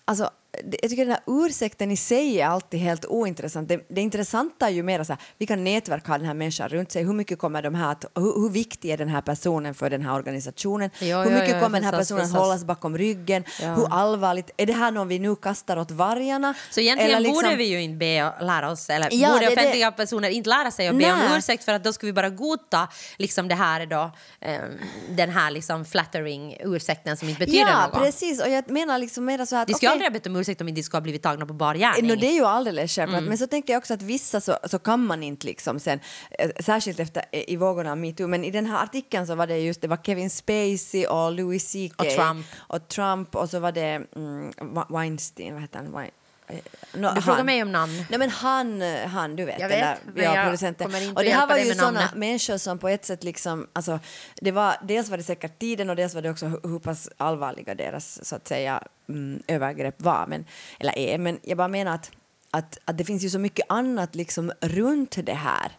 B: Alltså, det- jag tycker den här ursäkten i sig är alltid helt ointressant. Det, det intressanta är ju mer så här, vilka nätverk har den här människan runt sig? Hur mycket kommer de här att, hur, hur viktig är den här personen för den här organisationen?
A: Ja, ja,
B: hur mycket
A: ja,
B: kommer den här
A: förstås,
B: personen
A: förstås.
B: hållas bakom ryggen? Hur allvarligt, är det här någon vi nu kastar åt vargarna?
A: Så egentligen
B: Eller liksom-
A: borde vi ju inte be och lära oss, eller
B: Ja,
A: borde
B: det är det.
A: offentliga personer inte lära sig att be om
B: Nej.
A: ursäkt för att då skulle vi bara godta liksom det här då, ehm, den här liksom flattering ursäkten som inte betyder
B: Ja,
A: något.
B: precis. Och jag menar liksom mera så här att...
A: De skulle
B: okej.
A: aldrig ha bett om ursäkt om inte de skulle ha blivit tagna på bar gärning. Mm.
B: No, det är ju alldeles självklart, men så tänker jag också att vissa så, så kan man inte liksom sen, eh, särskilt efter, eh, i vågorna av metoo, men i den här artikeln så var det just det var Kevin Spacey och Louis CK
A: Och Trump.
B: och Trump och så var det mm, Wa- Weinstein, vad heter han? Wein, eh, no,
A: Du frågar
B: han.
A: mig om namn.
B: Nej men han, eh, han du vet,
A: Jag
B: den
A: vet,
B: där
A: men jag
B: producenten.
A: kommer inte
B: Och det
A: hjälpa
B: här var
A: dig
B: ju
A: med
B: sådana
A: namnet.
B: människor som på ett sätt liksom, alltså, det var, dels var det säkert tiden och dels var det också hur, hur pass allvarliga deras så att säga mm, övergrepp var, men, eller är, men jag bara menar att, att, att det finns ju så mycket annat liksom runt det här.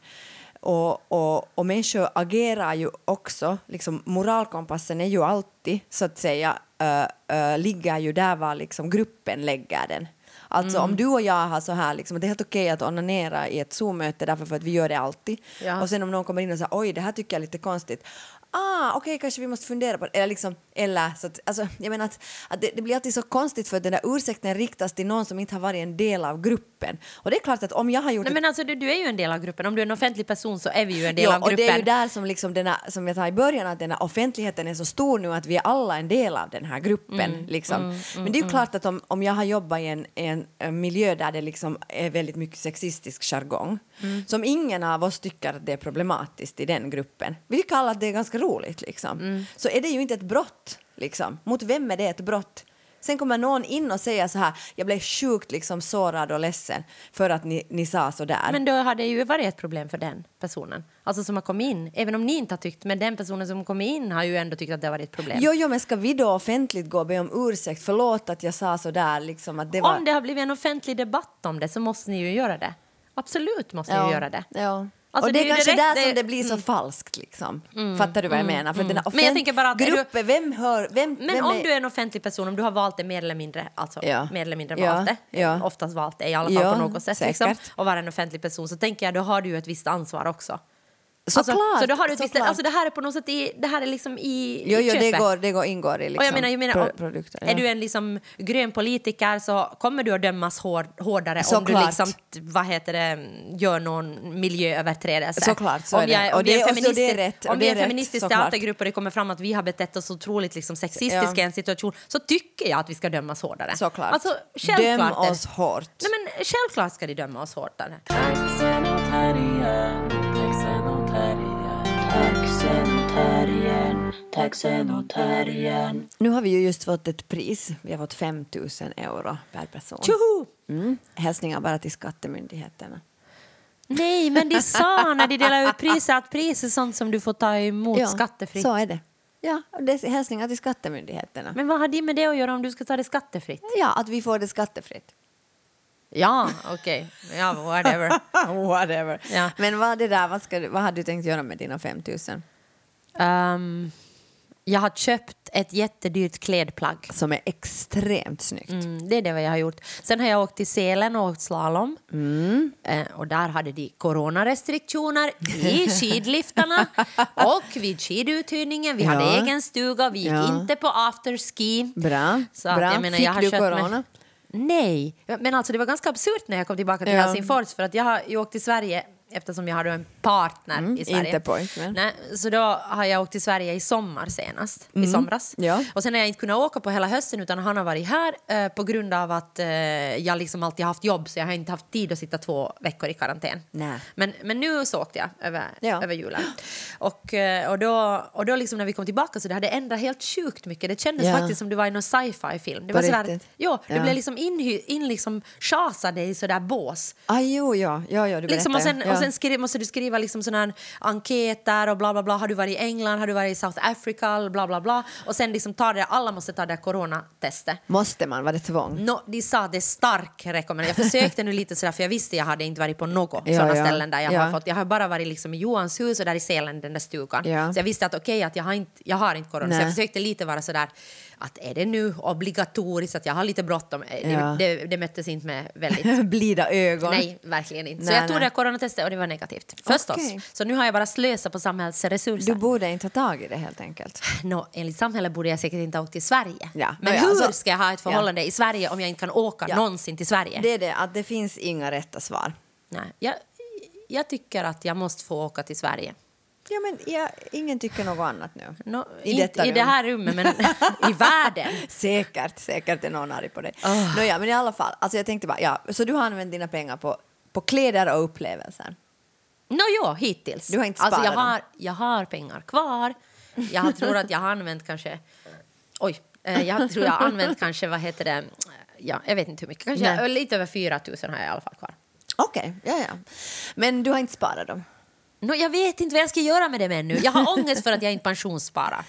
B: Och, och, och människor agerar ju också, liksom, moralkompassen är ju alltid så att säga, äh, äh, ligger ju där var liksom gruppen lägger den. Alltså om du och jag har så här, liksom, det är helt okej att onanera i ett Zoom-möte därför för att vi gör det alltid.
A: Ja.
B: Och sen om någon kommer in och säger oj det här tycker jag är lite konstigt. ah, okej, kanske vi måste fundera på det. Eller, liksom, eller så att, alltså, jag menar att, att det, det blir alltid så konstigt för att den där ursäkten riktas till någon som inte har varit en del av gruppen. Och det är klart att om jag har gjort
A: Nej,
B: ett
A: men alltså, du, du är ju en del av gruppen. Om du är en offentlig person så är vi ju en del
B: Ja,
A: av
B: och
A: gruppen.
B: det är ju där som, liksom denna, som jag tar i början, att den här offentligheten är så stor nu att vi är alla en del av den här gruppen.
A: Mm,
B: liksom. Men det är ju klart att om, om jag har jobbat i en, en, en miljö där det liksom är väldigt mycket sexistisk jargong,
A: Mm.
B: som ingen av oss tycker att det är problematiskt i den gruppen. Vi tycker alla att det är ganska roligt, liksom.
A: Mm.
B: så är det ju inte ett brott. Liksom. Mot vem är det ett brott? Sen kommer någon in och säger så här, jag blev sjukt liksom sårad och ledsen för att ni, ni sa så där.
A: Men då har det ju varit ett problem för den personen. Alltså som har kommit in. Även om ni inte har tyckt, men den personen som kommit in har ju ändå tyckt att det har varit ett problem.
B: Jo, jo, men ska vi då offentligt gå och be om ursäkt? Förlåt att jag sa så där, liksom att det var...
A: Om det har blivit en offentlig debatt om det så måste ni ju göra det. Absolut måste ni
B: ja.
A: ju göra det.
B: Ja.
A: Alltså,
B: och det,
A: det är
B: är
A: ju
B: kanske
A: direkt- mm.
B: där som
A: det-
B: det blir så falskt, liksom. Fattar du vad jag menar? För den här
A: Mm. Men jag tänker bara att är du-
B: gruppen, vem hör... Vem,
A: Men
B: vem
A: om du är en offentlig person, om du har valt det mer eller mindre, alltså
B: Ja.
A: mer eller mindre
B: Ja,
A: valt det,
B: ja.
A: oftast valt det i alla fall
B: Ja,
A: på något sätt, liksom,
B: säkert.
A: och vara en offentlig person, så tänker jag då har du ju ett visst ansvar också.
B: Såklart!
A: Alltså, så då har du ett visst,
B: såklart.
A: alltså det här är på något sätt i, det här är liksom i,
B: jo,
A: i
B: jo, det
A: köpet.
B: går, det går, ingår i liksom,
A: och jag menar, jag menar,
B: pro-
A: om-
B: produkter.
A: Är du en liksom grön politiker så kommer du att dömas hår, hårdare om du
B: Såklart.
A: liksom, t- vad heter det, gör någon miljööverträdelse.
B: Såklart, så
A: om
B: är det.
A: jag,
B: Och
A: Om vi är en
B: det- och så det är
A: feministisk-
B: rätt, och
A: om
B: det
A: vi är
B: är
A: en
B: rätt,
A: feministisk
B: såklart.
A: teatergrupp och det kommer fram att vi har betett oss otroligt liksom, sexistiska
B: Ja.
A: i en situation så tycker jag att vi ska dömas hårdare.
B: Såklart.
A: Alltså, självklart
B: Döm
A: är det-
B: oss hårt.
A: Nej, men, självklart ska de döma oss hårdare.
C: Taxenotarian, taxenotarian, taxenotarian, taxenotarian.
B: Nu har vi ju just fått ett pris. Vi har fått 5 000 euro per person.
A: Tjoho!
B: Mm. Hälsningar bara till skattemyndigheterna.
A: Nej, men de sa när de delade ut priser att pris är sånt som du får ta emot skattefritt.
B: Så är det. Ja, det är hälsningar till skattemyndigheterna.
A: Men vad har det med det att göra om du ska ta det skattefritt?
B: Ja, att vi får det skattefritt.
A: Ja, okej. Ja, whatever.
B: Whatever.
A: Ja.
B: Men vad, det där, vad, ska du, vad hade du tänkt göra med dina 5 000?
A: Ehm, jag har köpt ett jättedyrt klädplagg.
B: Som är extremt snyggt.
A: Mm, det är det vad jag har gjort. Sen har jag åkt till Sälen och åkt slalom.
B: Mm.
A: Eh, och där hade de coronarestriktioner i skidliftarna och vid skiduthyrningen. Vi hade
B: Ja.
A: egen stuga, vi gick
B: Ja.
A: inte på afterski.
B: Bra.
A: Så att,
B: Bra.
A: Jag menar,
B: Fick
A: jag har
B: du
A: kört mig-
B: corona?
A: Nej, men alltså det var ganska absurt när jag kom tillbaka till
B: Ja.
A: Helsingfors för att jag har ju åkt till Sverige eftersom jag har då en partner i Sverige.
B: Mm, inte pojkvän.
A: Nej, så då har jag åkt till Sverige i sommar senast, i somras.
B: Mm. Ja.
A: Och sen har jag inte kunnat åka på hela hösten utan han har varit här eh, på grund av att eh, jag liksom alltid haft jobb så jag har inte haft tid att sitta två veckor i karantän.
B: Nej.
A: Men, men nu så åkte jag över,
B: Ja.
A: över julen. Och, eh, och då, och då liksom när vi kom tillbaka så det hade ändrat helt sjukt mycket. Det kändes
B: Ja.
A: faktiskt som du var i någon sci-fi film. Det
B: På
A: var sådär,
B: riktigt?
A: ja, du
B: Ja.
A: blev liksom inhy, in liksom sjasade i sådär bås.
B: Ah, jo, ja. ja, ja du
A: Liksom, och
B: berättar,
A: sen,
B: ja.
A: och sen skri, måste du skriva liksom såna här enkäter och bla bla bla. Har du varit i England? Har du varit i South Africa? Bla bla bla. Och sen liksom ta det, alla måste ta det här coronatestet.
B: Måste man? Var det tvång?
A: No, de sa det är stark rekommendation. Jag försökte nu lite sådär för jag visste jag hade inte varit på något
B: Ja,
A: sådana
B: ja.
A: ställen där jag
B: Ja.
A: har fått. Jag har bara varit liksom i Johans hus och där i Sälen, den där stugan.
B: Ja.
A: Så jag visste att okej att jag har inte, jag har inte corona. Så
B: Nej.
A: jag försökte lite vara sådär att är det nu obligatoriskt att jag har lite bråttom. Eh,
B: Ja.
A: Det, det, det möttes inte med väldigt
B: Blida ögon.
A: Nej, verkligen inte. Så
B: Mm. Nej,
A: jag tog
B: nej.
A: det här coronatestet och det var negativt. Förstås.
B: Okej.
A: Så nu har jag bara slösat på samhällsresurser.
B: Du borde inte ha tag i det helt enkelt.
A: Nå, enligt samhället borde jag säkert inte ha åkt till Sverige.
B: Ja,
A: Men
B: nåja,
A: hur
B: alltså-
A: ska jag ha ett förhållande i Sverige om jag inte kan åka
B: Ja.
A: någonsin till Sverige?
B: Det är det, att det finns inga rätta svar.
A: Nej, jag, jag tycker att jag måste få åka till Sverige.
B: Ja, men jag, ingen tycker något annat nu.
A: Nå,
B: I
A: inte
B: detta
A: i det
B: rum.
A: här rummet, men i världen. Ah.
B: Säkert, säkert är någon arg på dig. Nåja, men i alla fall, alltså jag tänkte bara, ja, så du har använt dina pengar på, på kläder och upplevelser.
A: Nå ja, hittills.
B: Du har inte
A: alltså, jag,
B: sparat dem.
A: har, jag har pengar kvar. Jag tror att jag har använt kanske... Oj. eh, Jag tror jag har använt kanske, vad heter det? Ja, jag vet inte hur mycket. Kanske
B: Nej.
A: lite över 4 000 har jag i alla fall kvar.
B: Okej, ja, ja. Men du har inte sparat dem?
A: Nå, jag vet inte vad jag ska göra med det ännu. Jag har ångest för att jag inte pensionssparar.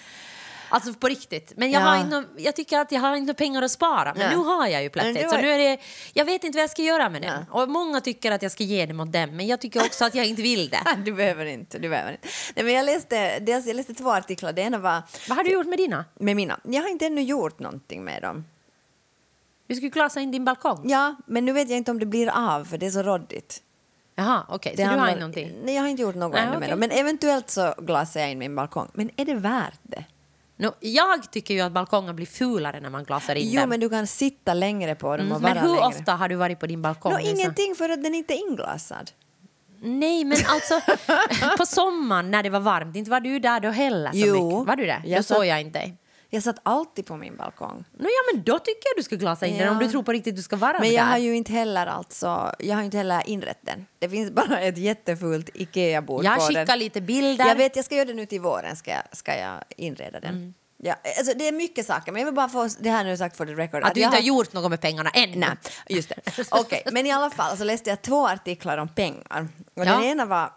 A: Alltså på riktigt. Men jag,
B: Ja.
A: har inte, jag tycker att jag har inte pengar att spara. Men
B: Nej.
A: nu har jag ju
B: Men
A: plötsligt.
B: du
A: Så
B: har-
A: nu är det, jag vet inte vad jag ska göra med det.
B: Nej.
A: Och många tycker att jag ska ge det mot dem. Men jag tycker också att jag inte vill det.
B: Du behöver inte. Du behöver inte. Nej, men jag, läste, dels, jag läste två artiklar. Det ena var
A: Vad har du gjort med dina?
B: med mina. Jag har inte ännu gjort någonting med dem.
A: Du skulle klasa in din balkong.
B: Ja, men nu vet jag inte om det blir av för det är så råddigt.
A: Jaha, okej. Så du
B: Det
A: har
B: handlar-
A: inte någonting?
B: Nej, jag har inte gjort något
A: Nej,
B: ännu med
A: okej.
B: dem. Men eventuellt så glasar jag in min balkong. Men är det värt det?
A: Nå, jag tycker ju att balkongen blir fulare när man glasar in
B: Jo,
A: den.
B: men du kan sitta längre på dem och
A: Mm,
B: vara
A: men hur
B: längre.
A: ofta har du varit på din balkong?
B: Nå,
A: Lisa?
B: ingenting för att den inte är inglasad.
A: Nej, men alltså på sommaren när det var varmt, inte var du där då heller så
B: Jo.
A: mycket. Var du där?
B: Jag
A: då
B: satt-
A: såg jag inte dig.
B: Jag satt alltid på min balkong.
A: Nå, ja, men då tycker jag du ska glasa in den
B: Ja.
A: om du tror på riktigt du ska vara
B: Men
A: där.
B: jag har ju inte heller alltså, jag har ju inte heller inrett den. Det finns bara ett jättefult Ikea-bord
A: Jag
B: på den.
A: skickar lite bilder.
B: Jag vet, jag ska göra det nu till våren, ska jag, ska jag inreda den.
A: Mm.
B: Ja, alltså, det är mycket saker, men jag vill bara få det här nu sagt for the record.
A: att du
B: jag
A: inte har gjort något med pengarna än.
B: Nej, Alltså- just det. Okej, men i alla fall så läste jag två artiklar om pengar.
A: Ja.
B: Och den ena var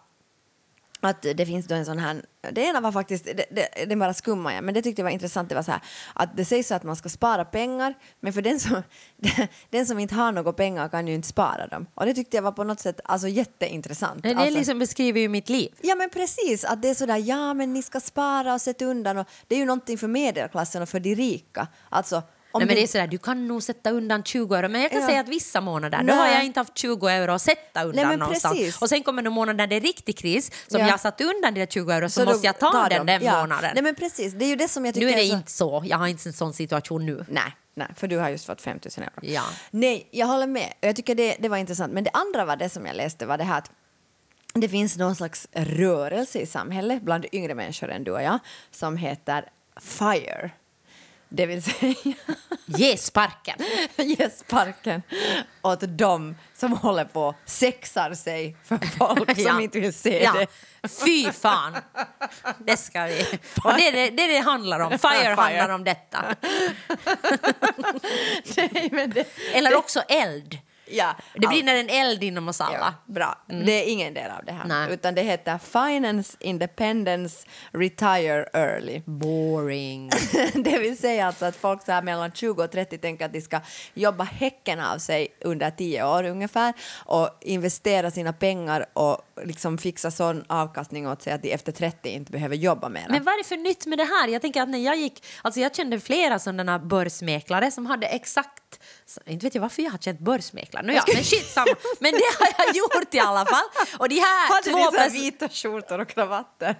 B: att det finns då en sån här, det ena var faktiskt, det, det, den bara skummar jag, men det tyckte jag var intressant, det var så här att det sägs så att man ska spara pengar, men för den som, den som inte har några pengar kan ju inte spara dem. Och det tyckte jag var på något sätt alltså jätteintressant.
A: Det
B: alltså,
A: liksom beskriver ju mitt liv.
B: Ja men precis, att det är sådär, ja men ni ska spara och sätta undan och det är ju någonting för medelklassen och för de rika. Alltså, om
A: Nej, men
B: du-
A: det är sådär, du kan nog sätta undan 20 euro, men jag kan
B: Ja.
A: säga att vissa månader då
B: Nej.
A: har jag inte haft 20 euro att sätta undan
B: Nej, men
A: någonstans.
B: precis.
A: Och sen kommer det månader när det är riktig kris, som
B: Ja.
A: jag har satt undan de där 20 euro, så,
B: då
A: måste jag ta
B: tar
A: den
B: de.
A: den
B: Ja.
A: månaden.
B: Nej men precis, det är ju det som jag tycker alltså-
A: nu är det
B: så-
A: inte så, jag har inte en sån situation nu.
B: Nej, nej, för du har just fått 5 000 euro.
A: Ja.
B: Nej, jag håller med. Jag tycker det, det var intressant. Men det andra var det som jag läste var det här att det finns någon slags rörelse i samhället bland yngre människor än du och jag som heter FIRE. Det vill säga
A: Ge sparken!
B: ge sparken åt dem som håller på och sexar sig för folk som inte vill se
A: Ja.
B: det.
A: Fy fan! Det ska vi. Och det är det, det, är det handlar om. Fire,
B: Fire.
A: handlar om detta.
B: Nej, men det,
A: Eller också eld.
B: ja,
A: Det brinner en eld inom oss alla.
B: Ja, Mm. bra. Det är ingen del av det här.
A: Nej.
B: Utan det heter Finance Independence Retire Early.
A: Boring.
B: det vill säga alltså att folk så här mellan 20 och 30 tänker att de ska jobba häcken av sig under 10 år ungefär och investera sina pengar och liksom fixa sån avkastning åt sig att de efter 30 inte behöver jobba mer.
A: Men vad är det för nytt med det här? Jag tänker att när jag gick, alltså jag kände flera sådana börsmäklare som hade exakt, inte vet jag varför jag har känt börsmäklare, Nåja, men shit samma. Men det har jag gjort i alla fall. Och de här
B: Hade
A: två
B: ni så här
A: pers-
B: vita skjortor och kravatter?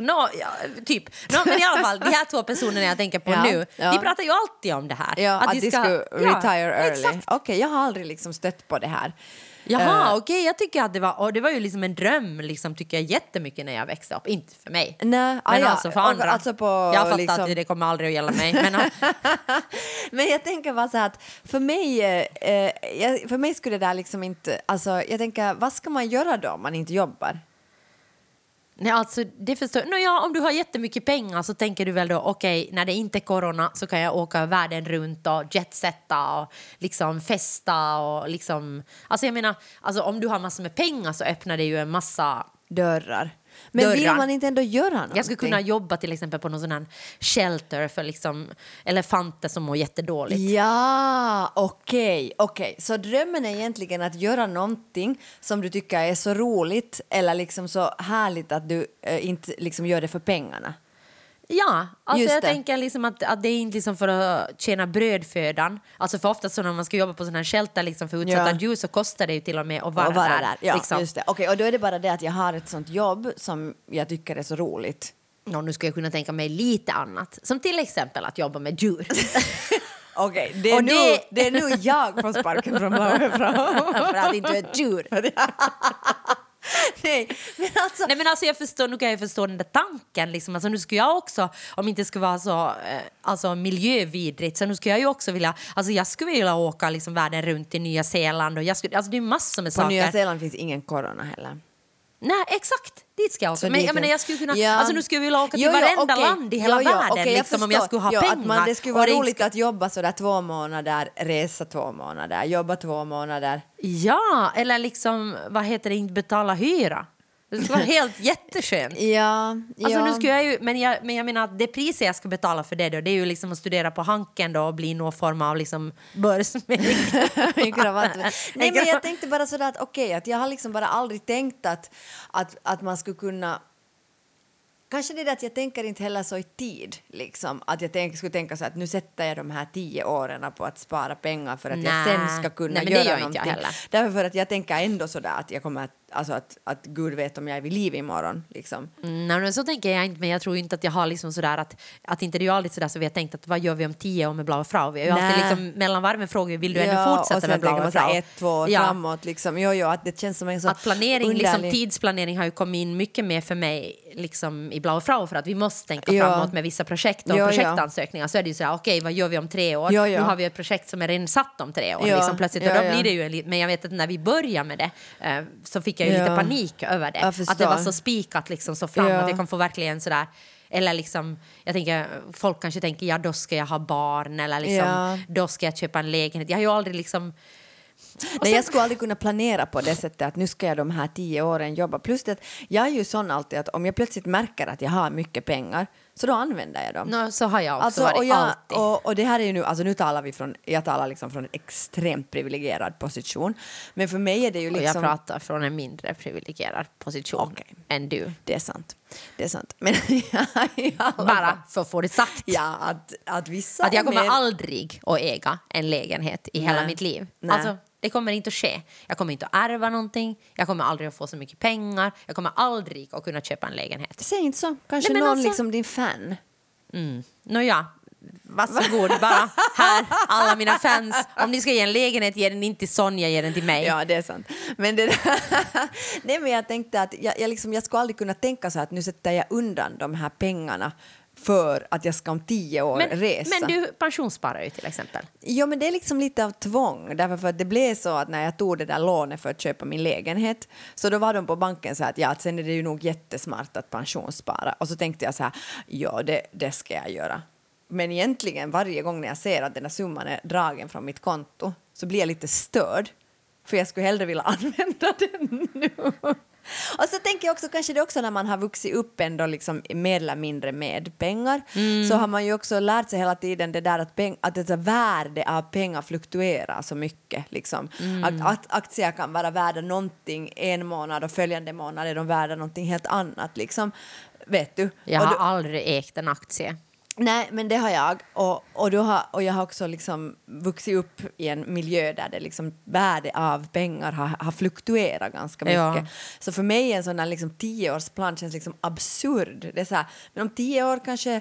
A: Nå, ja, typ. Nå, men i alla fall, de här två personerna jag tänker på
B: Ja,
A: nu,
B: ja.
A: de pratar ju alltid om det här.
B: Ja, att, de ska, retire early.
A: Exakt.
B: Okej, jag har aldrig liksom stött på det här.
A: Jaha,
B: Eh.
A: okej, jag tycker att det var, och det var ju liksom en dröm, liksom, tycker jag jättemycket när jag växte upp. Inte för mig,
B: Nej,
A: men
B: ah, ja.
A: alltså för
B: Och
A: andra.
B: alltså på,
A: jag fattar
B: liksom-
A: att det kommer aldrig att gälla mig. Men,
B: Men jag tänker bara så här att för mig, eh, jag- för mig skulle det där liksom inte... Alltså, jag tänker, vad ska man göra då om man inte jobbar?
A: nej, alltså, det förstår Nå, ja, Om du har jättemycket pengar så tänker du väl då, okej, när det inte är corona så kan jag åka världen runt och jetsetta och liksom festa och liksom... Alltså jag menar, alltså, om du har massor med pengar så öppnar det ju en massa
B: Dörrar. Men vill
A: Dörrar.
B: man inte ändå göra någonting?
A: Jag skulle kunna jobba till exempel på någon sån här shelter för liksom elefanter som mår jättedåligt.
B: Ja, okej. okej. Så drömmen är egentligen att göra någonting som du tycker är så roligt eller liksom så härligt att du eh, inte liksom gör det för pengarna.
A: Ja, alltså
B: Just
A: jag
B: det.
A: tänker liksom att, att det är inte liksom för att tjäna brödfödan. Alltså för ofta så när man ska jobba på sån här shelter liksom för utsatta
B: Ja.
A: djur så kostar det ju till och med att vara,
B: och vara
A: där.
B: där. Ja,
A: liksom.
B: just det. Okej, och då är det bara det att jag har ett sånt jobb som jag tycker är så roligt.
A: Nå, nu skulle jag kunna tänka mig lite annat. Som till exempel att jobba med djur.
B: Alltså- Okej, det, är
A: Och
B: nu,
A: det-
B: det är nu jag får sparken från Blåöfra.
A: för att inte är ett djur.
B: Nej, men alltså...
A: Nej men alltså jag förstår, nu kan jag förstå den där tanken liksom. Alltså nu skulle jag också, om det inte skulle vara så eh, alltså, miljövidrigt, så nu skulle jag ju också vilja, alltså jag skulle vilja åka liksom världen runt i Nya Zeeland och jag skulle, alltså det är massor med
B: På
A: saker.
B: Nya Zeeland finns ingen corona heller.
A: Nej exakt, dit ska jag
B: Så
A: åka. Men
B: dit-
A: jag menar jag skulle kunna,
B: Ja.
A: alltså nu skulle jag vilja åka till
B: Jo, jo,
A: varenda
B: okej.
A: land i hela
B: Jo, jo,
A: världen
B: okej, jag
A: liksom om
B: förstår.
A: jag skulle ha
B: Jo,
A: pengar.
B: att man, det skulle
A: och
B: vara
A: det inte
B: roligt att jobba sådär två månader, resa två månader, jobba två månader.
A: Ja, eller liksom, vad heter det, inte betala hyra. Det skulle vara helt jätteskönt.
B: Ja,
A: Alltså,
B: ja.
A: nu skulle jag ju, men, jag, men jag menar att det priset jag ska betala för det då, det är ju liksom att studera på Hanken då och bli någon form av liksom börsmäklare.
B: I kravatt. Nej, men jag tänkte bara sådär att okej, att jag har liksom bara aldrig tänkt att, att, att man skulle kunna Kanske det där att jag tänker inte heller så i tid. Liksom. Att jag tänk, skulle tänka så att nu sätter jag de här tio åren på att spara pengar för att jag
A: Nej.
B: sen ska kunna
A: Nej, men det
B: göra
A: gör inte jag
B: någonting.
A: heller.
B: Därför för att jag tänker ändå så där att jag kommer att, alltså att, att gud vet om jag är vid liv imorgon. Liksom.
A: Mm, Nej, men så tänker jag inte, men jag tror inte att jag har liksom sådär att, att inte det är alltid sådär så vi har tänkt att vad gör vi om tio år med bla och frau? Vi har ju
B: Nej.
A: alltid liksom mellan varven frågar vi, vill du ännu
B: och
A: fortsätta
B: sen
A: med bla
B: tänker man
A: och
B: så här
A: frau?
B: ett, två år
A: Ja.
B: framåt. Liksom. Jo, jo, att det känns som en så
A: Att planering, liksom,
B: underlig-
A: tidsplanering har ju kommit in mycket mer för mig liksom, i bla och frau för att vi måste tänka
B: Ja.
A: framåt med vissa projekt och
B: Ja, ja.
A: projektansökningar så är det ju sådär, okej vad gör vi om tre år?
B: Ja, ja.
A: Nu har vi ett projekt som är redan satt om tre år.
B: Ja,
A: Liksom, plötsligt.
B: ja,
A: och då
B: ja.
A: blir det ju en, li- men jag vet att när vi började med det eh, så fick jag ju
B: Ja.
A: lite panik över det.
B: Jag
A: att det var
B: förstår.
A: så spikat liksom, så framåt,
B: Ja.
A: jag kan få verkligen sådär eller liksom, jag tänker, folk kanske tänker ja då ska jag ha barn eller liksom,
B: Ja.
A: då ska jag köpa en lägenhet. Jag har ju aldrig liksom... Och
B: Nej,
A: sen-
B: jag skulle aldrig kunna planera på det sättet att nu ska jag de här tio åren jobba. Plus det att jag är ju sån alltid att om jag plötsligt märker att jag har mycket pengar så då använder jag dem.
A: Nå, så har jag också
B: Alltså,
A: varit,
B: och, jag,
A: alltid.
B: och, och det här är ju nu, alltså nu talar vi från, jag talar liksom från en extremt privilegierad position. Men för mig är det ju
A: Och
B: liksom...
A: jag pratar från en mindre privilegierad position
B: Okej.
A: än du.
B: Det är sant. Det är sant. Men i alla fall-
A: Bara för att få det sagt.
B: Ja, att, att vissa
A: Att jag
B: är
A: kommer
B: mer-
A: aldrig att äga en lägenhet i hela
B: Nej.
A: mitt liv.
B: Nej.
A: Alltså, det kommer inte att ske. Jag kommer inte att ärva någonting. Jag kommer aldrig att få så mycket pengar. Jag kommer aldrig att kunna köpa en lägenhet.
B: Säg inte så. Kanske
A: Nej, men
B: någon
A: alltså-
B: liksom din fan.
A: Nåja, varsågod bara. Här, alla mina fans. Om ni ska ge en lägenhet, ge den inte till Sonja, ge den till mig.
B: Ja, det är sant. Men, det Nej, men jag tänkte att jag, jag, liksom, jag skulle aldrig kunna tänka så här att nu sätter jag undan de här pengarna för att jag ska om tio år
A: men,
B: resa.
A: men du pensionssparar ju till exempel.
B: Ja, men det är liksom lite av tvång. Därför för att det blev så att när jag tog det där lånet för att köpa min lägenhet så då var de på banken så här att ja, att sen är det ju nog jättesmart att pensionsspara. Och så tänkte jag så här, ja, det, det ska jag göra. Men egentligen varje gång när jag ser att den där summan är dragen från mitt konto så blir jag lite störd. För jag skulle hellre vilja använda den nu. Och så tänker jag också, kanske det är också när man har vuxit upp ändå liksom mer eller mindre med pengar så har man ju också lärt sig hela tiden det där att, peng, att det där värde av pengar fluktuerar så mycket. Liksom. Att, att aktier kan vara värda någonting en månad och följande månad är de värda någonting helt annat. Liksom. Vet du?
A: Jag
B: Och
A: har
B: då-
A: aldrig ägt en aktie.
B: Nej, men det har jag. Och, och, då har, och jag har också liksom vuxit upp i en miljö där det liksom värde av pengar har, har fluktuerat ganska mycket.
A: Ja.
B: Så för mig är en sån här liksom tioårsplan känns liksom absurd. Det är så här, men om tio år kanske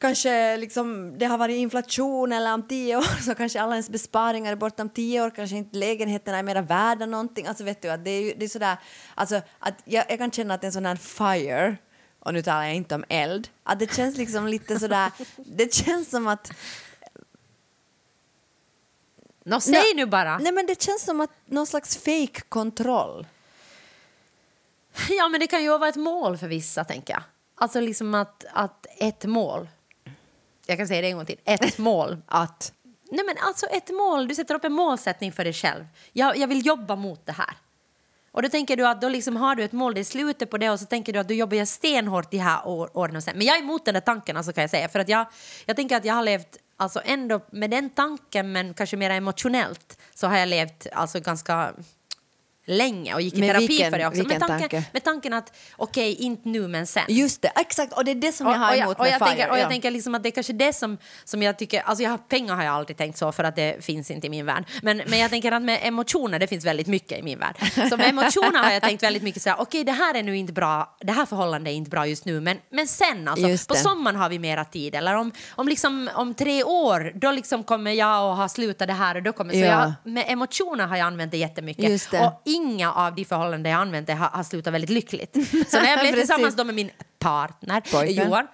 B: Kanske liksom, det har varit inflation eller om tio år så kanske alla ens besparingar är borta om tio år, kanske inte lägenheterna är mera värda någonting. Alltså vet du, att det är, ju- det är sådär, alltså att jag, jag kan känna att en sån här fire, och nu talar jag inte om eld, att det känns liksom lite sådär, det känns som att,
A: Nå, säg
B: Nej.
A: nu bara.
B: nej men det känns som att någon slags fake kontroll.
A: Ja, men det kan ju vara ett mål för vissa, tänker jag. Alltså liksom att, att ett mål. Jag kan säga det en gång till. Ett mål.
B: Att,
A: Nej, men alltså ett mål. Du sätter upp en målsättning för dig själv. Jag, jag vill jobba mot det här. Och då tänker du att då liksom har du ett mål, det är slutet på det och så tänker du att du jobbar jag stenhårt de här år, åren och sen. Men jag är emot den där tanken alltså kan jag säga. För att jag, jag tänker att jag har levt alltså ändå med den tanken men kanske mer emotionellt så har jag levt alltså ganska länge och gick i
B: Med
A: terapi
B: vilken-
A: för det också.
B: vilken
A: Med tanken,
B: tanke?
A: med tanken att okej, inte nu men sen.
B: just det, exakt, och det är det som jag har
A: Och-
B: emot
A: och jag, och jag
B: med fire.
A: tänker, och jag
B: ja.
A: tänker liksom att det är kanske det som, som jag tycker, alltså jag, har- pengar har jag aldrig tänkt så för att det finns inte i min värld. Men, men jag tänker att med emotioner, det finns väldigt mycket i min värld. Så med emotioner har jag tänkt väldigt mycket så här, okej det här är nu inte bra, det här förhållandet är inte bra just nu, men, men sen
B: Just
A: alltså, på
B: det.
A: sommaren har vi mera tid. Eller om, om, liksom, om tre år, då liksom kommer jag att ha slutat det här och då kommer, så
B: Ja.
A: jag, med emotioner har jag använt det jättemycket.
B: Just det.
A: Och inga av de förhållanden jag använt det har, har slutat väldigt lyckligt. Så när jag blev
B: Precis.
A: tillsammans då med min partner,
B: Pojkvän.
A: Johan,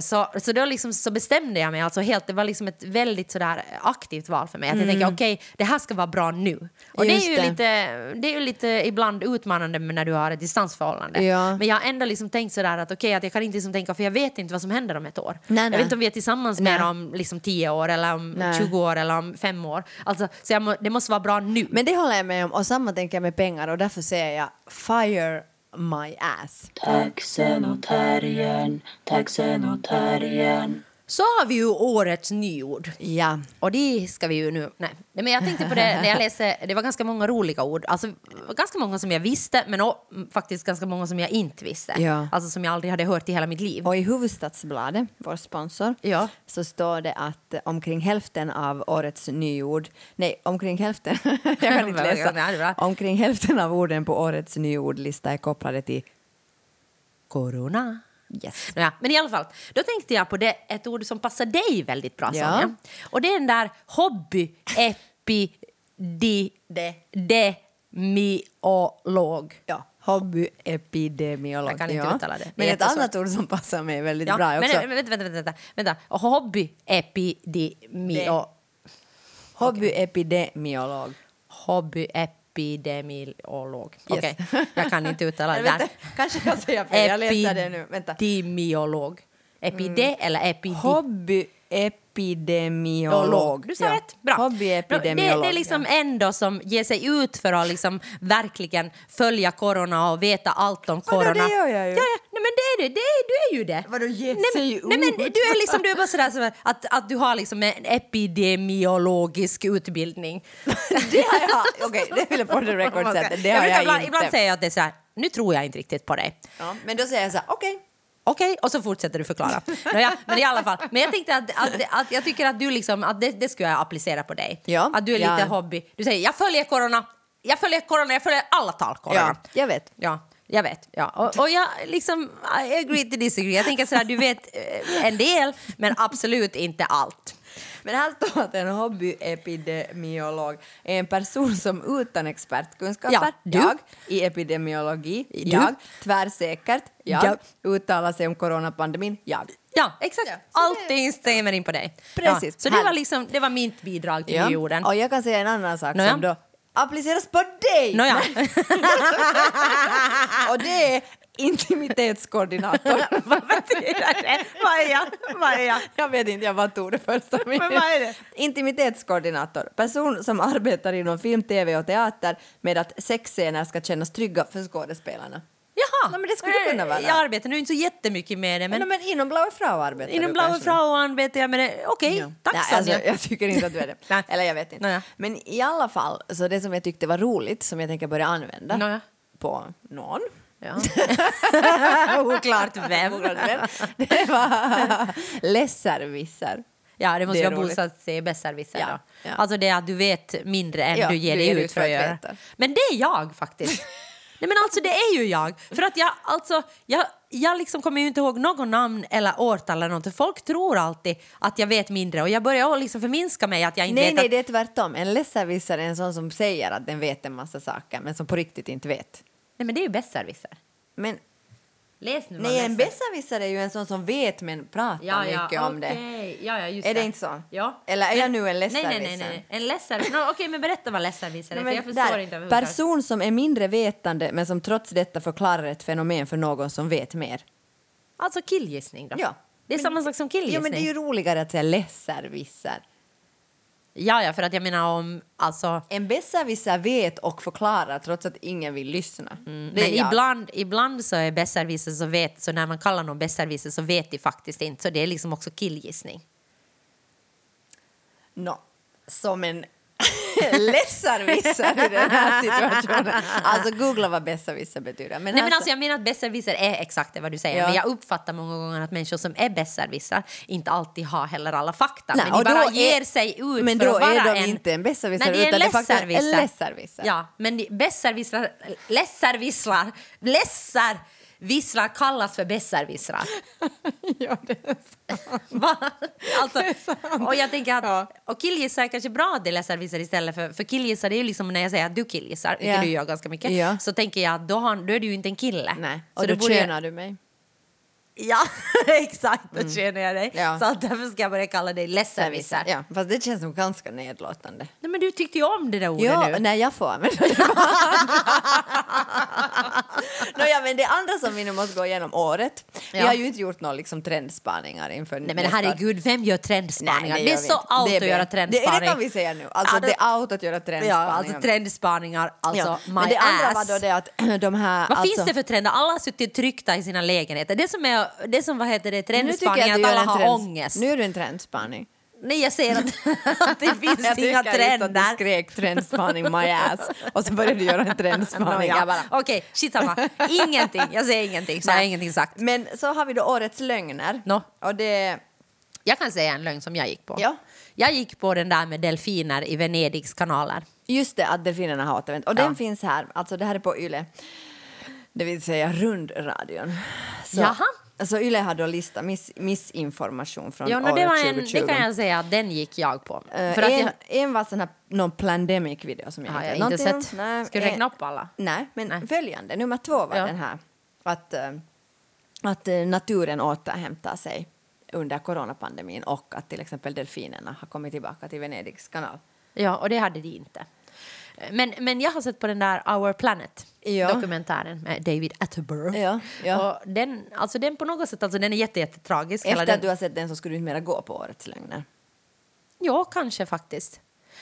A: så, så då liksom, så bestämde jag mig alltså helt, det var liksom ett väldigt sådär aktivt val för mig. Att jag tänker okej, det här ska vara bra nu. Och det
B: Mm. Just
A: är, ju
B: det.
A: Lite, det är ju lite ibland utmanande när du har ett distansförhållande.
B: Ja.
A: Men jag har ändå liksom tänkt sådär att okej, att jag kan inte liksom tänka för jag vet inte vad som händer om ett år.
B: Nej,
A: Jag
B: nej.
A: vet inte om vi är tillsammans
B: Nej.
A: mer om liksom, tio år eller om
B: Nej.
A: 20 år eller om fem år. Alltså, så jag må, det måste vara bra nu.
B: Men det håller jag med om och samma tänker jag med pengar och därför säger jag fire my ass.
C: Taxen och terriern, taxen och terriern.
A: Så har vi ju årets nyord.
B: Ja.
A: Och det ska vi ju nu... Nej. nej, men jag tänkte på det när jag läste. Det var ganska många roliga ord. Alltså, det var ganska många som jag visste, men o- faktiskt ganska många som jag inte visste.
B: Ja.
A: Alltså som jag aldrig hade hört i hela mitt liv.
B: Och i Hufvudstadsbladet, vår sponsor,
A: Ja.
B: så står det att eh, omkring hälften av årets nyord, nej omkring hälften, jag kan
A: Ja,
B: inte
A: det är
B: läsa,
A: bra.
B: omkring hälften av orden på årets nyordlista är kopplade till
A: Corona.
B: yes.
A: Nåja, men i alla fall, då tänkte jag på det, ett ord som passar dig väldigt bra,
B: Ja.
A: Sonja. Och det är den där hobby epi di de, demiolog.
B: Ja, hobbyepidemiolog.
A: Jag kan inte
B: ja.
A: uttala det. Det är
B: Men ett
A: jättesvårt.
B: annat ord som passar mig väldigt
A: Ja,
B: bra är
A: men,
B: också.
A: vänta, vänta, vänta, vänta. Hobby epidemiolog.
B: Hobbyepidemiolog.
A: Hobby epidemiolog.
B: Yes.
A: Okej, jag kan inte uttala det
B: Nej, vänta,
A: där.
B: Kanske jag säger fel, jag läser det nu. Vänta.
A: Epidemiolog. Epide eller epidi?
B: Hobbyepidemiolog.
A: Du sa
B: Ja.
A: rätt. Bra.
B: Hobbyepidemiolog.
A: Det, det är liksom ändå som ger sig ut för att liksom verkligen följa corona och veta allt om
B: Vadå,
A: corona.
B: det gör jag ju.
A: Ja, ja. Nej, men det är du. Det är, du är ju det.
B: Vadå, ger
A: nej, men-
B: sig
A: Nej, men
B: ut?
A: du är liksom du är bara sådär som att, att du har liksom en epidemiologisk utbildning.
B: Det har jag. Okej, det vill jag på the record
A: Okej.
B: sätt. Det har
A: brukar
B: jag,
A: ibland,
B: inte.
A: Ibland säger jag att det är så här, nu tror jag inte riktigt på dig.
B: ja, men då säger jag så här, okej.
A: Okej, och så fortsätter du förklara. Nåja, men i alla fall. Men jag tänkte att, att, att jag tycker att du liksom, att det, det skulle jag applicera på dig.
B: Ja,
A: Att du är
B: ja.
A: lite hobby. Du säger jag följer corona, jag följer corona, jag följer alla tal corona.
B: Ja, jag vet.
A: Ja, jag vet. Ja. Och, och jag liksom, I agree to disagree. Jag tänker sådär, du vet eh, en del, men absolut inte allt.
B: Men här står att en hobbyepidemiolog är en person som utan expertkunskaper,
A: Ja, du.
B: jag, i epidemiologi,
A: Du.
B: jag, tvärsäkert, jag, uttalar sig om coronapandemin, jag.
A: Ja, exakt. Allting stämmer in på dig. Ja.
B: Precis.
A: Så det var,
B: Härligt.
A: liksom, det var mitt bidrag till jorden.
B: Och jag kan säga en annan sak
A: Nåja.
B: som då appliceras på dig!
A: Nåja.
B: Och det är intimitetskoordinator.
A: Vad betyder det? Vad är jag? Vad är jag?
B: Jag vet inte, jag bara tog det första minuten.
A: vad är det?
B: Intimitetskoordinator. Person som arbetar inom film, tv och teater med att sexscener ska kännas trygga för skådespelarna.
A: Jaha!
B: Nej, men det skulle kunna vara.
A: Jag arbetar nu inte så jättemycket med det,
B: Men,
A: men
B: men inom Blaue Frau arbetar
A: inom
B: du
A: Blaue
B: kanske?
A: Frau arbetar jag med det. Okej, tack
B: Nej,
A: Sonja.
B: alltså, jag tycker inte att du är
A: Nej.
B: det. Eller jag vet inte.
A: Nåja.
B: Men i alla fall, så det som jag tyckte var roligt som jag tänker börja använda
A: Nåja.
B: på någon.
A: Ja. Oklart vem.
B: Oklart vem. Det var lesservisser.
A: Ja, det måste
B: Det är
A: vara
B: roligt.
A: bosatt i besserwisser.
B: Ja,
A: då.
B: ja.
A: Alltså det är att du vet mindre än
B: Ja,
A: du ger dig ut för att göra.
B: veta.
A: Men det är jag faktiskt. Nej men alltså det är ju jag. För att jag, alltså, jag, jag liksom kommer ju inte ihåg något namn eller årtal eller någonting. Folk tror alltid att jag vet mindre och jag börjar liksom förminska mig att jag inte
B: Nej,
A: vet
B: nej,
A: att
B: det är tvärtom. En lesservissare är en sån som säger att den vet en massa saker men som på riktigt inte vet.
A: Nej men det är ju besserwisser.
B: Men
A: Läs nu vad
B: nej, en
A: besserwisser-
B: besserwissare är ju en sån som vet men pratar mycket om det.
A: okej. Ja, ja, just
B: Är det inte så?
A: Ja.
B: Eller är jag nu en
A: Nej, nej, nej,
B: läsarvisare?
A: nej. En läsare. No, okej, men berätta vad läsarvisare är,
B: Nej,
A: för
B: men
A: jag förstår
B: där.
A: inte överhuvudtaget.
B: Person som är mindre vetande men som trots detta förklarar ett fenomen för någon som vet mer.
A: Alltså killgissning då?
B: Ja.
A: Det är samma sak som killgissning.
B: Ja, men det är ju roligare att säga lesservissar.
A: ja, ja, för att jag menar om, alltså...
B: En besserwisser vet och förklarar trots att ingen vill lyssna.
A: Mm. Men
B: Det är jag.
A: ibland, ibland så är besserwisser så vet, så när man kallar någon besserwisser så vet de faktiskt inte, så det är liksom också killgissning.
B: No. Som en besserwisser i den här situationen. Alltså googla vad besserwisser betyder. Men
A: Nej
B: här
A: men
B: så-
A: alltså jag menar att besserwisser är exakt det vad du säger,
B: Ja.
A: men jag uppfattar många gånger att människor som är besserwissrar inte alltid har heller alla fakta,
B: Nej,
A: men de
B: och då
A: bara
B: är-
A: ger sig ut
B: men
A: för
B: då
A: att vara
B: är de
A: en...
B: inte en besserwissrar,
A: Nej, det är en
B: utan det är faktiskt en
A: lässervissar.
B: lässervissar.
A: Ja, men de- besserwissrar, lässervissrar, lässervissrar kallas för besserwissrar.
B: ja, det är
A: Va? Alltså,
B: Det är sant.
A: och jag tänker att
B: Ja.
A: och killgissar är kanske bra att det är läsarvisar istället för, för killgissar det är ju liksom när jag säger att du killgissar, vilket
B: Ja.
A: du gör ganska mycket,
B: Ja.
A: så tänker jag att då, har, då är du ju inte en kille.
B: Nej,
A: Så
B: och då
A: borde jag-
B: könar du mig.
A: Ja, exakt, då könar jag dig.
B: Mm. Ja.
A: Så att därför ska jag börja kalla dig läsarvisar.
B: Ja, fast det känns nog ganska nedlåtande.
A: Nej men du tyckte ju om det där ordet
B: Ja,
A: nu.
B: när jag får använda det. Nåja, men det andra som vi nu måste gå igenom året. Vi
A: Ja.
B: har ju inte gjort några liksom, trendspaningar inför
A: Nej men
B: nästa-
A: herregud, vem gör
B: Nej,
A: trendspaningar?
B: det
A: Det är
B: gör vi
A: så
B: inte.
A: out
B: Det är
A: att göra
B: bra.
A: trendspaning.
B: Det, det kan vi säga nu. Alltså,
A: Ja,
B: det,
A: det-
B: är out att göra
A: Ja,
B: trendspaningar.
A: alltså trendspaningar, alltså
B: Ja,
A: my
B: Men det andra
A: ass.
B: var då det att de här...
A: Vad
B: alltså,
A: finns det för trender? Alla har suttit tryckta i sina lägenheter. Det som, är, det som vad heter det,
B: nu tycker jag
A: trendspaningar
B: att
A: är att
B: du gör
A: alla
B: en
A: har
B: trends-
A: ångest.
B: Nu är du en trendspaning.
A: Nej, jag säger att, att det finns
B: jag
A: inga
B: tycker just att du
A: trender.
B: skrek trendspaning my ass och så började du göra en trendspaning.
A: Nåja,
B: Jag bara,
A: Okej, skitsamma. Ingenting. Jag säger ingenting, så har jag ingenting sagt.
B: Men så har vi då årets lögner.
A: Nå.
B: Och det...
A: Jag kan säga en lögn som jag gick på.
B: Ja.
A: Jag gick på den där med delfiner i Venedigs kanaler.
B: Just det, att delfinerna har återvänt. Och
A: Ja.
B: den finns här, alltså det här är på YLE. Det vill säga rundradion. Så,
A: Jaha.
B: så YLE har då lista miss, missinformation från
A: Ja, no,
B: året
A: det, var en,
B: 2020.
A: det kan jag säga att den gick jag på.
B: Eh,
A: För att
B: en,
A: jag,
B: en var sån här, någon pandemic-video som jag
A: Har jag
B: hittade.
A: inte
B: Någonting-
A: sett.
B: Nej, eh.
A: Ska du
B: en-
A: räkna upp alla?
B: Nej, men
A: Nej.
B: följande, nummer två var
A: Ja.
B: den här. Att, eh, att eh, naturen återhämtar sig under coronapandemin och att till exempel delfinerna har kommit tillbaka till Venedigs kanal.
A: ja, och det hade de inte. Men, men jag har sett på den där Our Planet
B: Ja.
A: dokumentären med David Attenborough.
B: Ja, ja.
A: Och den, alltså den på något sätt, alltså den är jätte, jättetragisk. hela
B: Efter
A: den,
B: att du har sett den så skulle du inte mera gå på Årets lögner.
A: Ja, kanske faktiskt.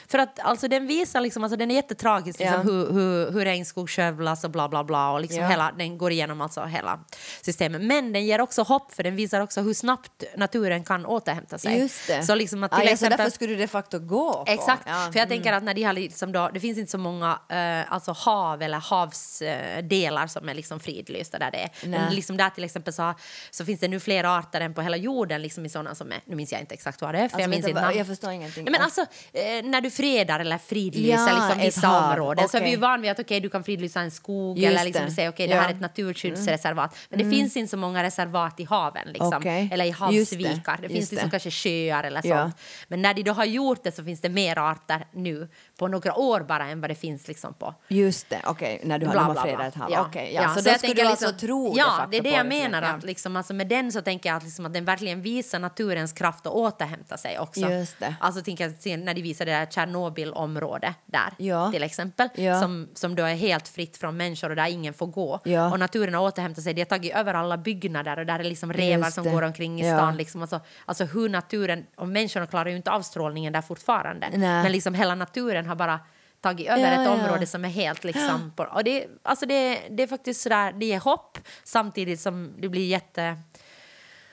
A: För att alltså, den visar liksom, alltså, den är jättetragisk, liksom,
B: Ja.
A: hur, hur, hur regnskog skövlas och bla bla bla. Och liksom
B: Ja.
A: hela, den går igenom alltså hela systemet. Men den ger också hopp, för den visar också hur snabbt naturen kan återhämta sig.
B: Just det.
A: Så liksom att
B: Ah,
A: till
B: ja,
A: exempel...
B: så därför skulle du de facto gå på.
A: Exakt,
B: Ja. Mm.
A: för jag tänker att när de har liksom då, det finns inte så många eh, alltså hav eller havsdelar som är liksom fridlysta där det är. Men
B: Nej.
A: liksom där till exempel så, har- så finns det nu fler arter än på hela jorden liksom i sådana som är, nu minns jag inte exakt vad det är för
B: Alltså,
A: jag minns
B: vänta,
A: inte
B: vad-
A: namn.
B: jag förstår ingenting.
A: Nej, men alltså eh, när du fredar eller fridlyser
B: Ja,
A: liksom
B: ett
A: vissa
B: hav.
A: områden så är vi
B: Okej.
A: ju vana vid att okej du kan fridlysa en skog
B: Just
A: eller liksom
B: det.
A: säga okej det här
B: Ja. Mm.
A: är ett naturskyddsreservat. Men det finns inte så många reservat i haven liksom,
B: Okej.
A: eller i
B: Just det.
A: havsvikar. Det, finns
B: Just
A: liksom
B: det.
A: kanske sjöar eller
B: Ja.
A: sånt. Men när de då har gjort det så finns det mer arter nu på några år bara än vad det finns liksom på.
B: Just det, okej, när du har,
A: bla,
B: de
A: bla,
B: har
A: bla.
B: fredat ett hav. Ja. ja. Så, då
A: jag
B: skulle
A: tänker
B: du alltså
A: liksom-
B: tro de
A: Ja,
B: facto
A: det är det
B: på
A: jag
B: Årets
A: menar.
B: lögner.
A: Att liksom, alltså med den så tänker jag att, liksom, att den verkligen visar naturens kraft att återhämta sig också.
B: Just det.
A: Alltså tänker jag sen när de visar det där Tjernobylområdet där
B: Ja.
A: till exempel.
B: Ja.
A: Som, som då är helt fritt från människor och där ingen får gå.
B: Ja.
A: Och naturen har återhämtat sig. De har tagit över alla byggnader och där är liksom revar
B: Just
A: som
B: det.
A: går omkring i
B: Ja.
A: stan. Liksom, alltså, alltså hur naturen, och människorna klarar ju inte avstrålningen där fortfarande.
B: Nej.
A: Men liksom hela naturen har bara tagit över
B: Ja,
A: ett
B: ja.
A: område som är helt liksom... På, och det, alltså det, det är faktiskt sådär, det ger hopp samtidigt som det blir jätte...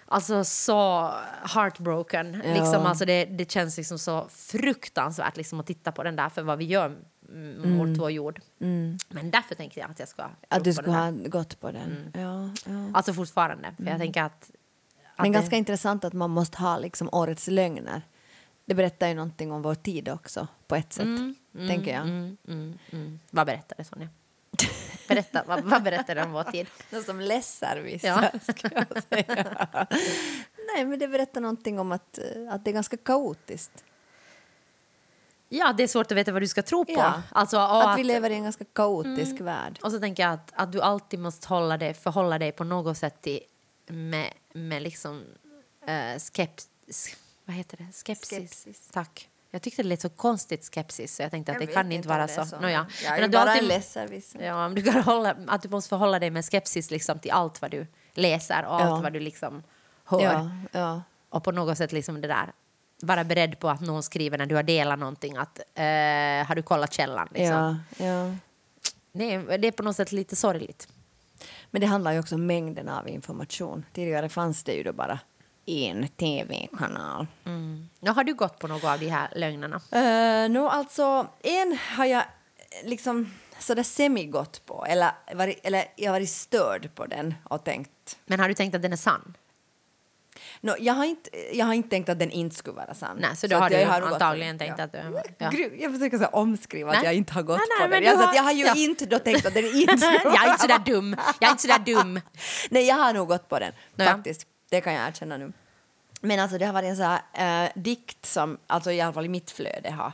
A: Alltså så heartbroken.
B: Ja.
A: Liksom, alltså det, det känns liksom så fruktansvärt liksom, att titta på den där för vad vi gör mm, mot vår jord. Men därför tänkte jag att jag ska tro
B: Mm. Att du
A: på
B: skulle
A: den
B: ha gått på den. Ja, ja.
A: där. Alltså fortfarande. För jag tänker att... att
B: Men
A: det-
B: ganska intressant att man måste ha liksom årets lögner. Det berättar ju någonting om vår tid också, på ett sätt, tänker jag.
A: Mm, mm, mm. Vad berättade Sonja? Berätta, vad, vad berättade om vår tid?
B: Något som lässer vissa,
A: Ja.
B: ska jag säga. Nej, men det berättar någonting om att, eh, att det är ganska kaotiskt.
A: Ja, det är svårt att veta vad du ska tro på.
B: Ja.
A: Alltså, och,
B: Att
A: att
B: vi lever i en ganska kaotisk värld.
A: och så tänker jag att, att du alltid måste hålla dig, förhålla dig på något sätt till, med, med liksom eh, skeps, s- vad heter det? Skepsis.
B: Skepsis.
A: Tack. Jag tyckte det lät så konstigt skepsis så jag tänkte att
B: Jag
A: det
B: vet
A: kan inte
B: om
A: vara
B: det
A: så.
B: är
A: Nåja.
B: Jag
A: Men
B: är ju
A: att du
B: bara
A: alltid-
B: en lässer vissa.
A: Ja, men du kan hålla, att du måste förhålla dig med skepsis liksom till allt vad du läser och
B: Ja.
A: allt vad du liksom hör.
B: Ja, ja.
A: Och på något sätt liksom det där, vara beredd på att någon skriver när du har delat någonting att eh, har du kollat källan? Liksom.
B: Ja, ja.
A: Det, är, det är på något sätt lite sorgligt.
B: Men det handlar ju också om mängden av information. Tidigare fanns det ju då bara en tv-kanal.
A: Mm. Ja, har du gått på något av de här lögnerna?
B: Uh, no, alltså, en har jag eh, liksom sådär semigått på. Eller, varit, eller jag har varit störd på den och tänkt...
A: Men har du tänkt att den är sann?
B: No, jag, har inte, jag har inte tänkt att den inte skulle vara sann.
A: Nej, så då har
B: att
A: du
B: jag
A: ju
B: gått på
A: antagligen
B: den.
A: tänkt att du-
B: Mm,
A: ja.
B: gru- Jag försöker så här omskriva
A: Nej.
B: att jag inte har gått
A: Nej, nej,
B: på
A: men
B: den. Jag,
A: du
B: har... Så att jag
A: har-
B: har ju
A: ja.
B: inte då tänkt att den inte skulle
A: jag är inte sådär dum. Jag är inte sådär dum.
B: Nej, jag har nog gått på den.
A: Nåja.
B: Faktiskt. Det kan jag erkänna nu. Men alltså det har varit en sån här eh, dikt som, alltså i alla fall i mitt flöde har.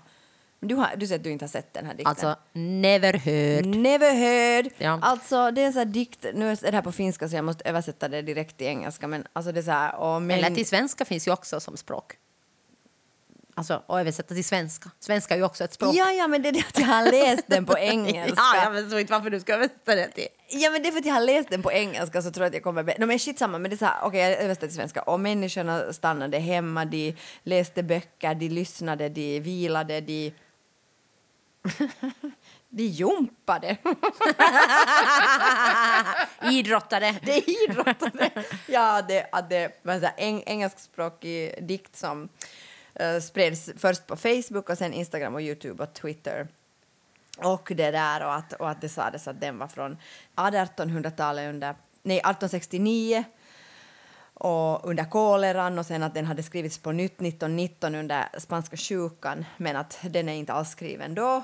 B: Du, har, du säger att du inte har sett den här dikten.
A: Alltså, never heard.
B: Never heard.
A: Ja.
B: Alltså det är en sån här dikt, nu är det här på finska så jag måste översätta det direkt till engelska men alltså det är så här, och men,
A: Eller till svenska finns ju också som språk. Alltså, och översätta till svenska. Svenska är ju också ett språk.
B: Ja, ja, men det är det att jag har läst den på engelska.
A: ja, jag vet inte varför du ska översätta det till.
B: Ja men det är för att jag har läst den på engelska så tror jag att jag kommer... be- No, men shit samma, men det är så här, okej jag översätter till svenska. Och människorna stannade hemma, de läste böcker, de lyssnade, de vilade, de... de jumpade.
A: Idrottare.
B: de idrottade. ja, det, att det var så här, eng, engelskspråkig dikt som eh, spreds först på Facebook och sen Instagram och Youtube och Twitter. Och det där och att, och att det sades att den var från 1800-talet under, nej 1869 och under koleran och sen att den hade skrivits på nytt 1919 under spanska sjukan men att den är inte alls skriven då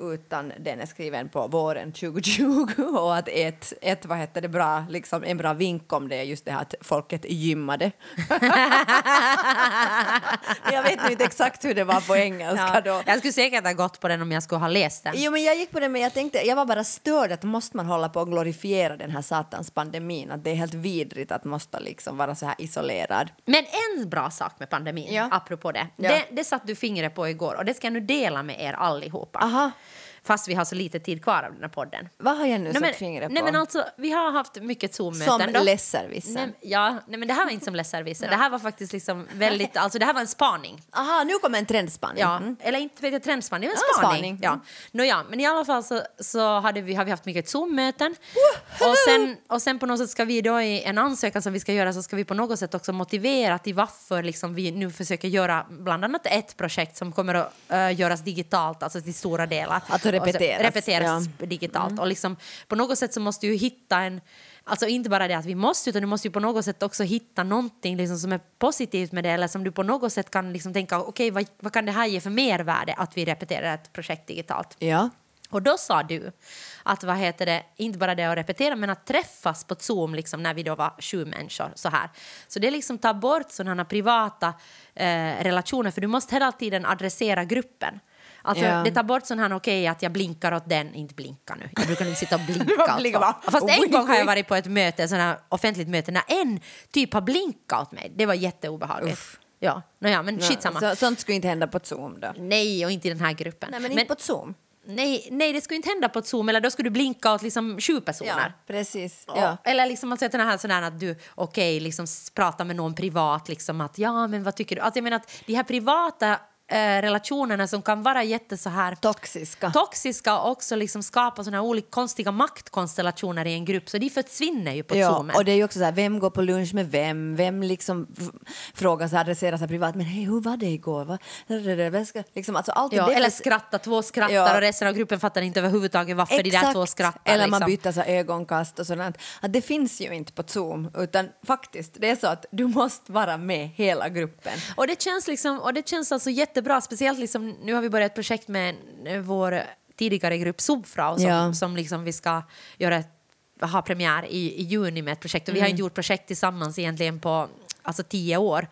B: utan den är skriven på våren 2020 och att ett, ett vad heter det, bra, liksom en bra vink om det är just det här att folket gymmade. Men jag vet nu inte exakt hur det var på engelska då.
A: Jag skulle säkert ha gått på den om jag skulle ha läst den.
B: Jo, men jag gick på det, men jag tänkte, jag var bara störd att måste man hålla på och glorifiera den här satans pandemin, att det är helt vidrigt att måste liksom vara så här isolerad.
A: Men en bra sak med pandemin,
B: Ja.
A: apropå det,
B: Ja.
A: det, det satt du fingret på igår och det ska jag nu dela med er allihopa.
B: Aha.
A: Fast vi har så lite tid kvar av den här podden.
B: Vad har jag nu
A: Nej, men,
B: satt fingret på?
A: nej, men alltså, vi har haft mycket Zoom-möten.
B: Som
A: då.
B: lässervissen.
A: Nej, ja, nej, men det här var inte som lässervice. Det här var faktiskt liksom väldigt, alltså det här var en spaning.
B: Aha, nu kommer en trendspaning.
A: Ja,
B: Mm.
A: Eller inte vet jag, trendspaning, men
B: Ja,
A: spaning.
B: spaning.
A: Ja.
B: Mm.
A: Nåja, men i alla fall så, så hade vi, har vi haft mycket Zoom-möten. Och sen, och sen på något sätt ska vi då i en ansökan som vi ska göra så ska vi på något sätt också motivera till varför liksom vi nu försöker göra bland annat ett projekt som kommer att eh, göras digitalt, alltså till stora delar.
B: Att det
A: Och så-
B: repeteras,
A: repeteras
B: ja. Mm.
A: digitalt. Och liksom, på något sätt så måste ju hitta en Alltså inte bara det att vi måste, utan du måste ju på något sätt också hitta någonting liksom som är positivt med det eller som du på något sätt kan liksom tänka okej vad, vad kan det här ge för mervärde att vi repeterar ett projekt digitalt.
B: Ja.
A: Och då sa du att vad heter det, inte bara det att repetera men att träffas på Zoom liksom när vi då var sju människor så här. Så det liksom tar bort sådana privata eh, relationer för du måste hela tiden adressera gruppen. Alltså
B: Ja.
A: det tar bort sån här okej att jag blinkar åt den, inte blinka nu. Jag brukar inte sitta och blinka.
B: Du bara Oh
A: åt
B: blinkar
A: folk.
B: bara,
A: Fast en
B: wink,
A: gång har jag
B: wink.
A: varit på ett möte, sån här offentligt möte när en typ har blinkat åt mig. Det var jätteobehagligt. Ja, nåja men skitsamma.
B: Så, sånt skulle inte hända på ett Zoom då.
A: Nej, och inte i den här gruppen.
B: Nej, men, inte på ett Zoom.
A: Nej, nej, det skulle inte hända på ett Zoom, eller då skulle du blinka åt liksom sju personer.
B: precis.
A: Ja. Eller liksom alltså, den här, sån här att du okej, liksom s- pratar med någon privat, liksom att ja, men vad tycker du? Alltså jag menar att de här privata eh, relationerna som kan vara jätte så här
B: Toxiska.
A: toxiska och också liksom skapa såna här olika konstiga maktkonstellationer i en grupp, så de försvinner ju på
B: Ja,
A: Zoom.
B: och det är ju också så här, vem går på lunch med vem? Vem liksom f- frågar så här, adresserar sig privat, men hej, hur var det igår? Vad- Vem ska- Liksom, alltså, allt
A: Ja,
B: det
A: eller
B: förs-
A: skratta, två skrattar
B: Ja.
A: och resten av gruppen fattar inte överhuvudtaget varför de där två skrattar.
B: Eller man
A: liksom.
B: byter så här ögonkast och sådant. Att det finns ju inte på Zoom, utan faktiskt, det är så att du måste vara med hela gruppen.
A: Och det känns, liksom, och det känns alltså jättebra, speciellt liksom, nu har vi börjat ett projekt med eh, vår tidigare grupp Subfrau som,
B: Ja.
A: som liksom vi ska göra ett, ha premiär i, i juni med ett projekt. Och
B: Mm.
A: vi har inte gjort projekt tillsammans egentligen på alltså, tio år.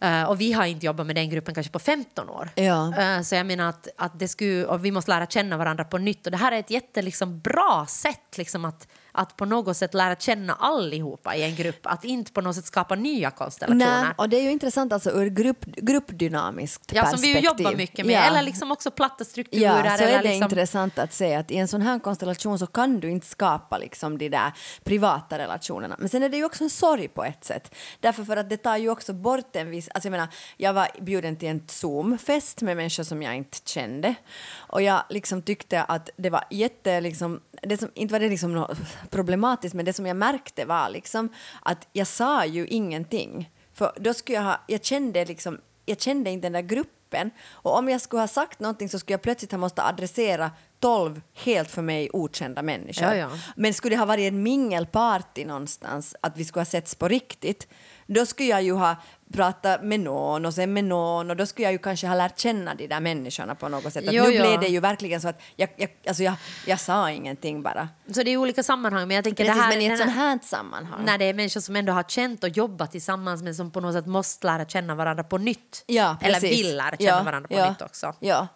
A: Eh, och vi har inte jobbat med den gruppen kanske på 15 år.
B: Ja.
A: Eh, så jag menar att, att det skulle, och vi måste lära känna varandra på nytt. Och det här är ett jätte, liksom, bra sätt liksom, att, att på något sätt lära känna allihopa i en grupp. Att inte på något sätt skapa nya konstellationer.
B: Nej, och det är ju intressant alltså ur grupp, gruppdynamiskt
A: Ja, som vi
B: perspektiv.
A: ju jobbar mycket med.
B: Ja.
A: Eller liksom också platta strukturer.
B: Ja, så
A: eller
B: är det
A: liksom,
B: intressant att se att i en sån här konstellation så kan du inte skapa liksom de där privata relationerna. Men sen är det ju också en sorg på ett sätt. Därför för att det tar ju också bort en viss... Alltså jag menar, jag var bjuden till en Zoom-fest med människor som jag inte kände. Och jag liksom tyckte att det var jätte... Liksom, det som, inte var det liksom något problematiskt, men det som jag märkte var liksom att jag sa ju ingenting. För då skulle jag ha... Jag kände liksom... Jag kände inte den där gruppen gruppen. Och om jag skulle ha sagt någonting så skulle jag plötsligt ha måste adressera tolv helt för mig okända människor.
A: Ja, ja.
B: Men skulle det ha varit en mingelparty någonstans, att vi skulle ha setts på riktigt, då skulle jag ju ha pratat med någon och sen med någon och då skulle jag ju kanske ha lärt känna de där människorna på något sätt. Att
A: Jo,
B: nu
A: ja.
B: blev det ju verkligen så att jag, jag, alltså jag, jag sa ingenting bara.
A: Så det är olika sammanhang. Men jag tänker
B: Precis,
A: det här,
B: men i ett
A: den här-
B: sånt här sammanhang.
A: När det är människor som ändå har känt och jobbat tillsammans men som på något sätt måste lära känna varandra på nytt.
B: Ja,
A: eller
B: precis.
A: vill lära känna
B: Ja,
A: varandra på
B: ja,
A: nytt också.
B: Ja.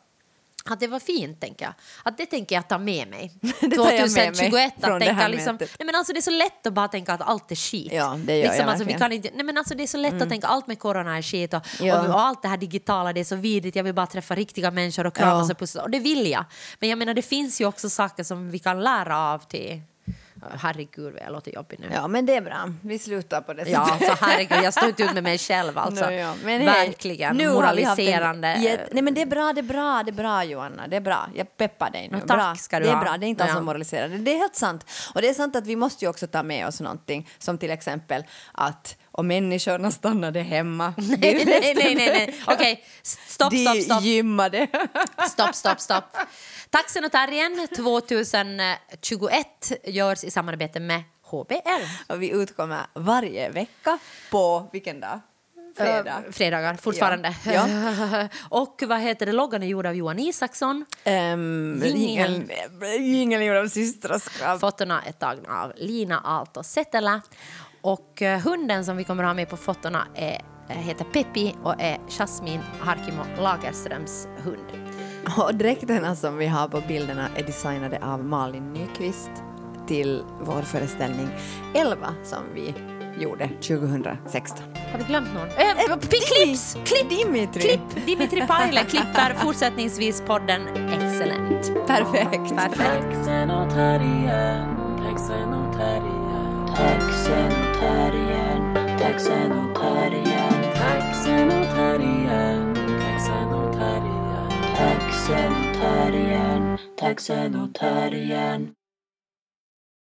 A: Att det var fint, tänker jag. Att det tänker jag ta med mig.
B: tar jag med mig
A: 2021,
B: från
A: att
B: det
A: tänka
B: här
A: liksom, nej
B: mötet.
A: men alltså det är så lätt att bara tänka att allt är skit.
B: Ja, det gör
A: liksom,
B: jag
A: alltså, vi
B: verkligen. Mm.
A: kan inte, nej men alltså det är så lätt att tänka allt med corona är skit och,
B: Ja.
A: och, och allt det här digitala, det är så vidrigt, jag vill bara träffa riktiga människor och kramas
B: Ja.
A: och pussas. Och det vill jag. Men jag menar, det finns ju också saker som vi kan lära av till... Herregud, vad jag låter jobbig nu.
B: Ja, men det är bra. Vi slutar på det
A: Ja,
B: sättet.
A: för herregud, jag står inte ut med mig själv alltså.
B: Nå, ja. Men hej,
A: Verkligen
B: nu har vi haft en
A: moraliserande.
B: jätte- Nej men det är bra, det är bra, det är bra Joanna, det är bra. Jag peppar dig nu.
A: Nå, tack
B: bra.
A: ska du
B: det är
A: ha.
B: bra, det är inte alls
A: Ja.
B: ja. moraliserande. Det är helt sant. Och det är sant att vi måste ju också ta med oss någonting som till exempel att om människorna stannade hemma.
A: nej, nej, nej, nej, nej. Okej, stopp,
B: de
A: stopp, stopp.
B: gymmade.
A: Stopp, stopp, stopp. Taxen och Terrien 2021 görs i samarbete med HBL.
B: Och vi utkommer varje vecka på vilken dag? Fredag.
A: Eh, Fredagar, fortfarande.
B: Ja. Ja.
A: och vad heter det, loggan är gjord av Johan Isaksson.
B: Um,
A: Jingeln.
B: Jingeln gjorde av systraskrabb.
A: Fotona är tagna av Lina Aalto Setälä. Och eh, hunden som vi kommer att ha med på fotona är, eh, heter Peppi och är Jasmine Harkimo Lagerströms hund.
B: Och dräkterna som vi har på bilderna är designade av Malin Nyqvist till vår föreställning 11 som vi gjorde 2016.
A: Har vi glömt någon? Äh, klips!
B: Klipp! Dimitri!
A: Klipp! Dimitri Paile klipper fortsättningsvis podden Excellent.
B: Perfekt!
C: Taxenotarian, taxenotarian, taxenotarian, taxenotarian, taxenotarian, taxenotarian, taxenotarian, taxenotarian.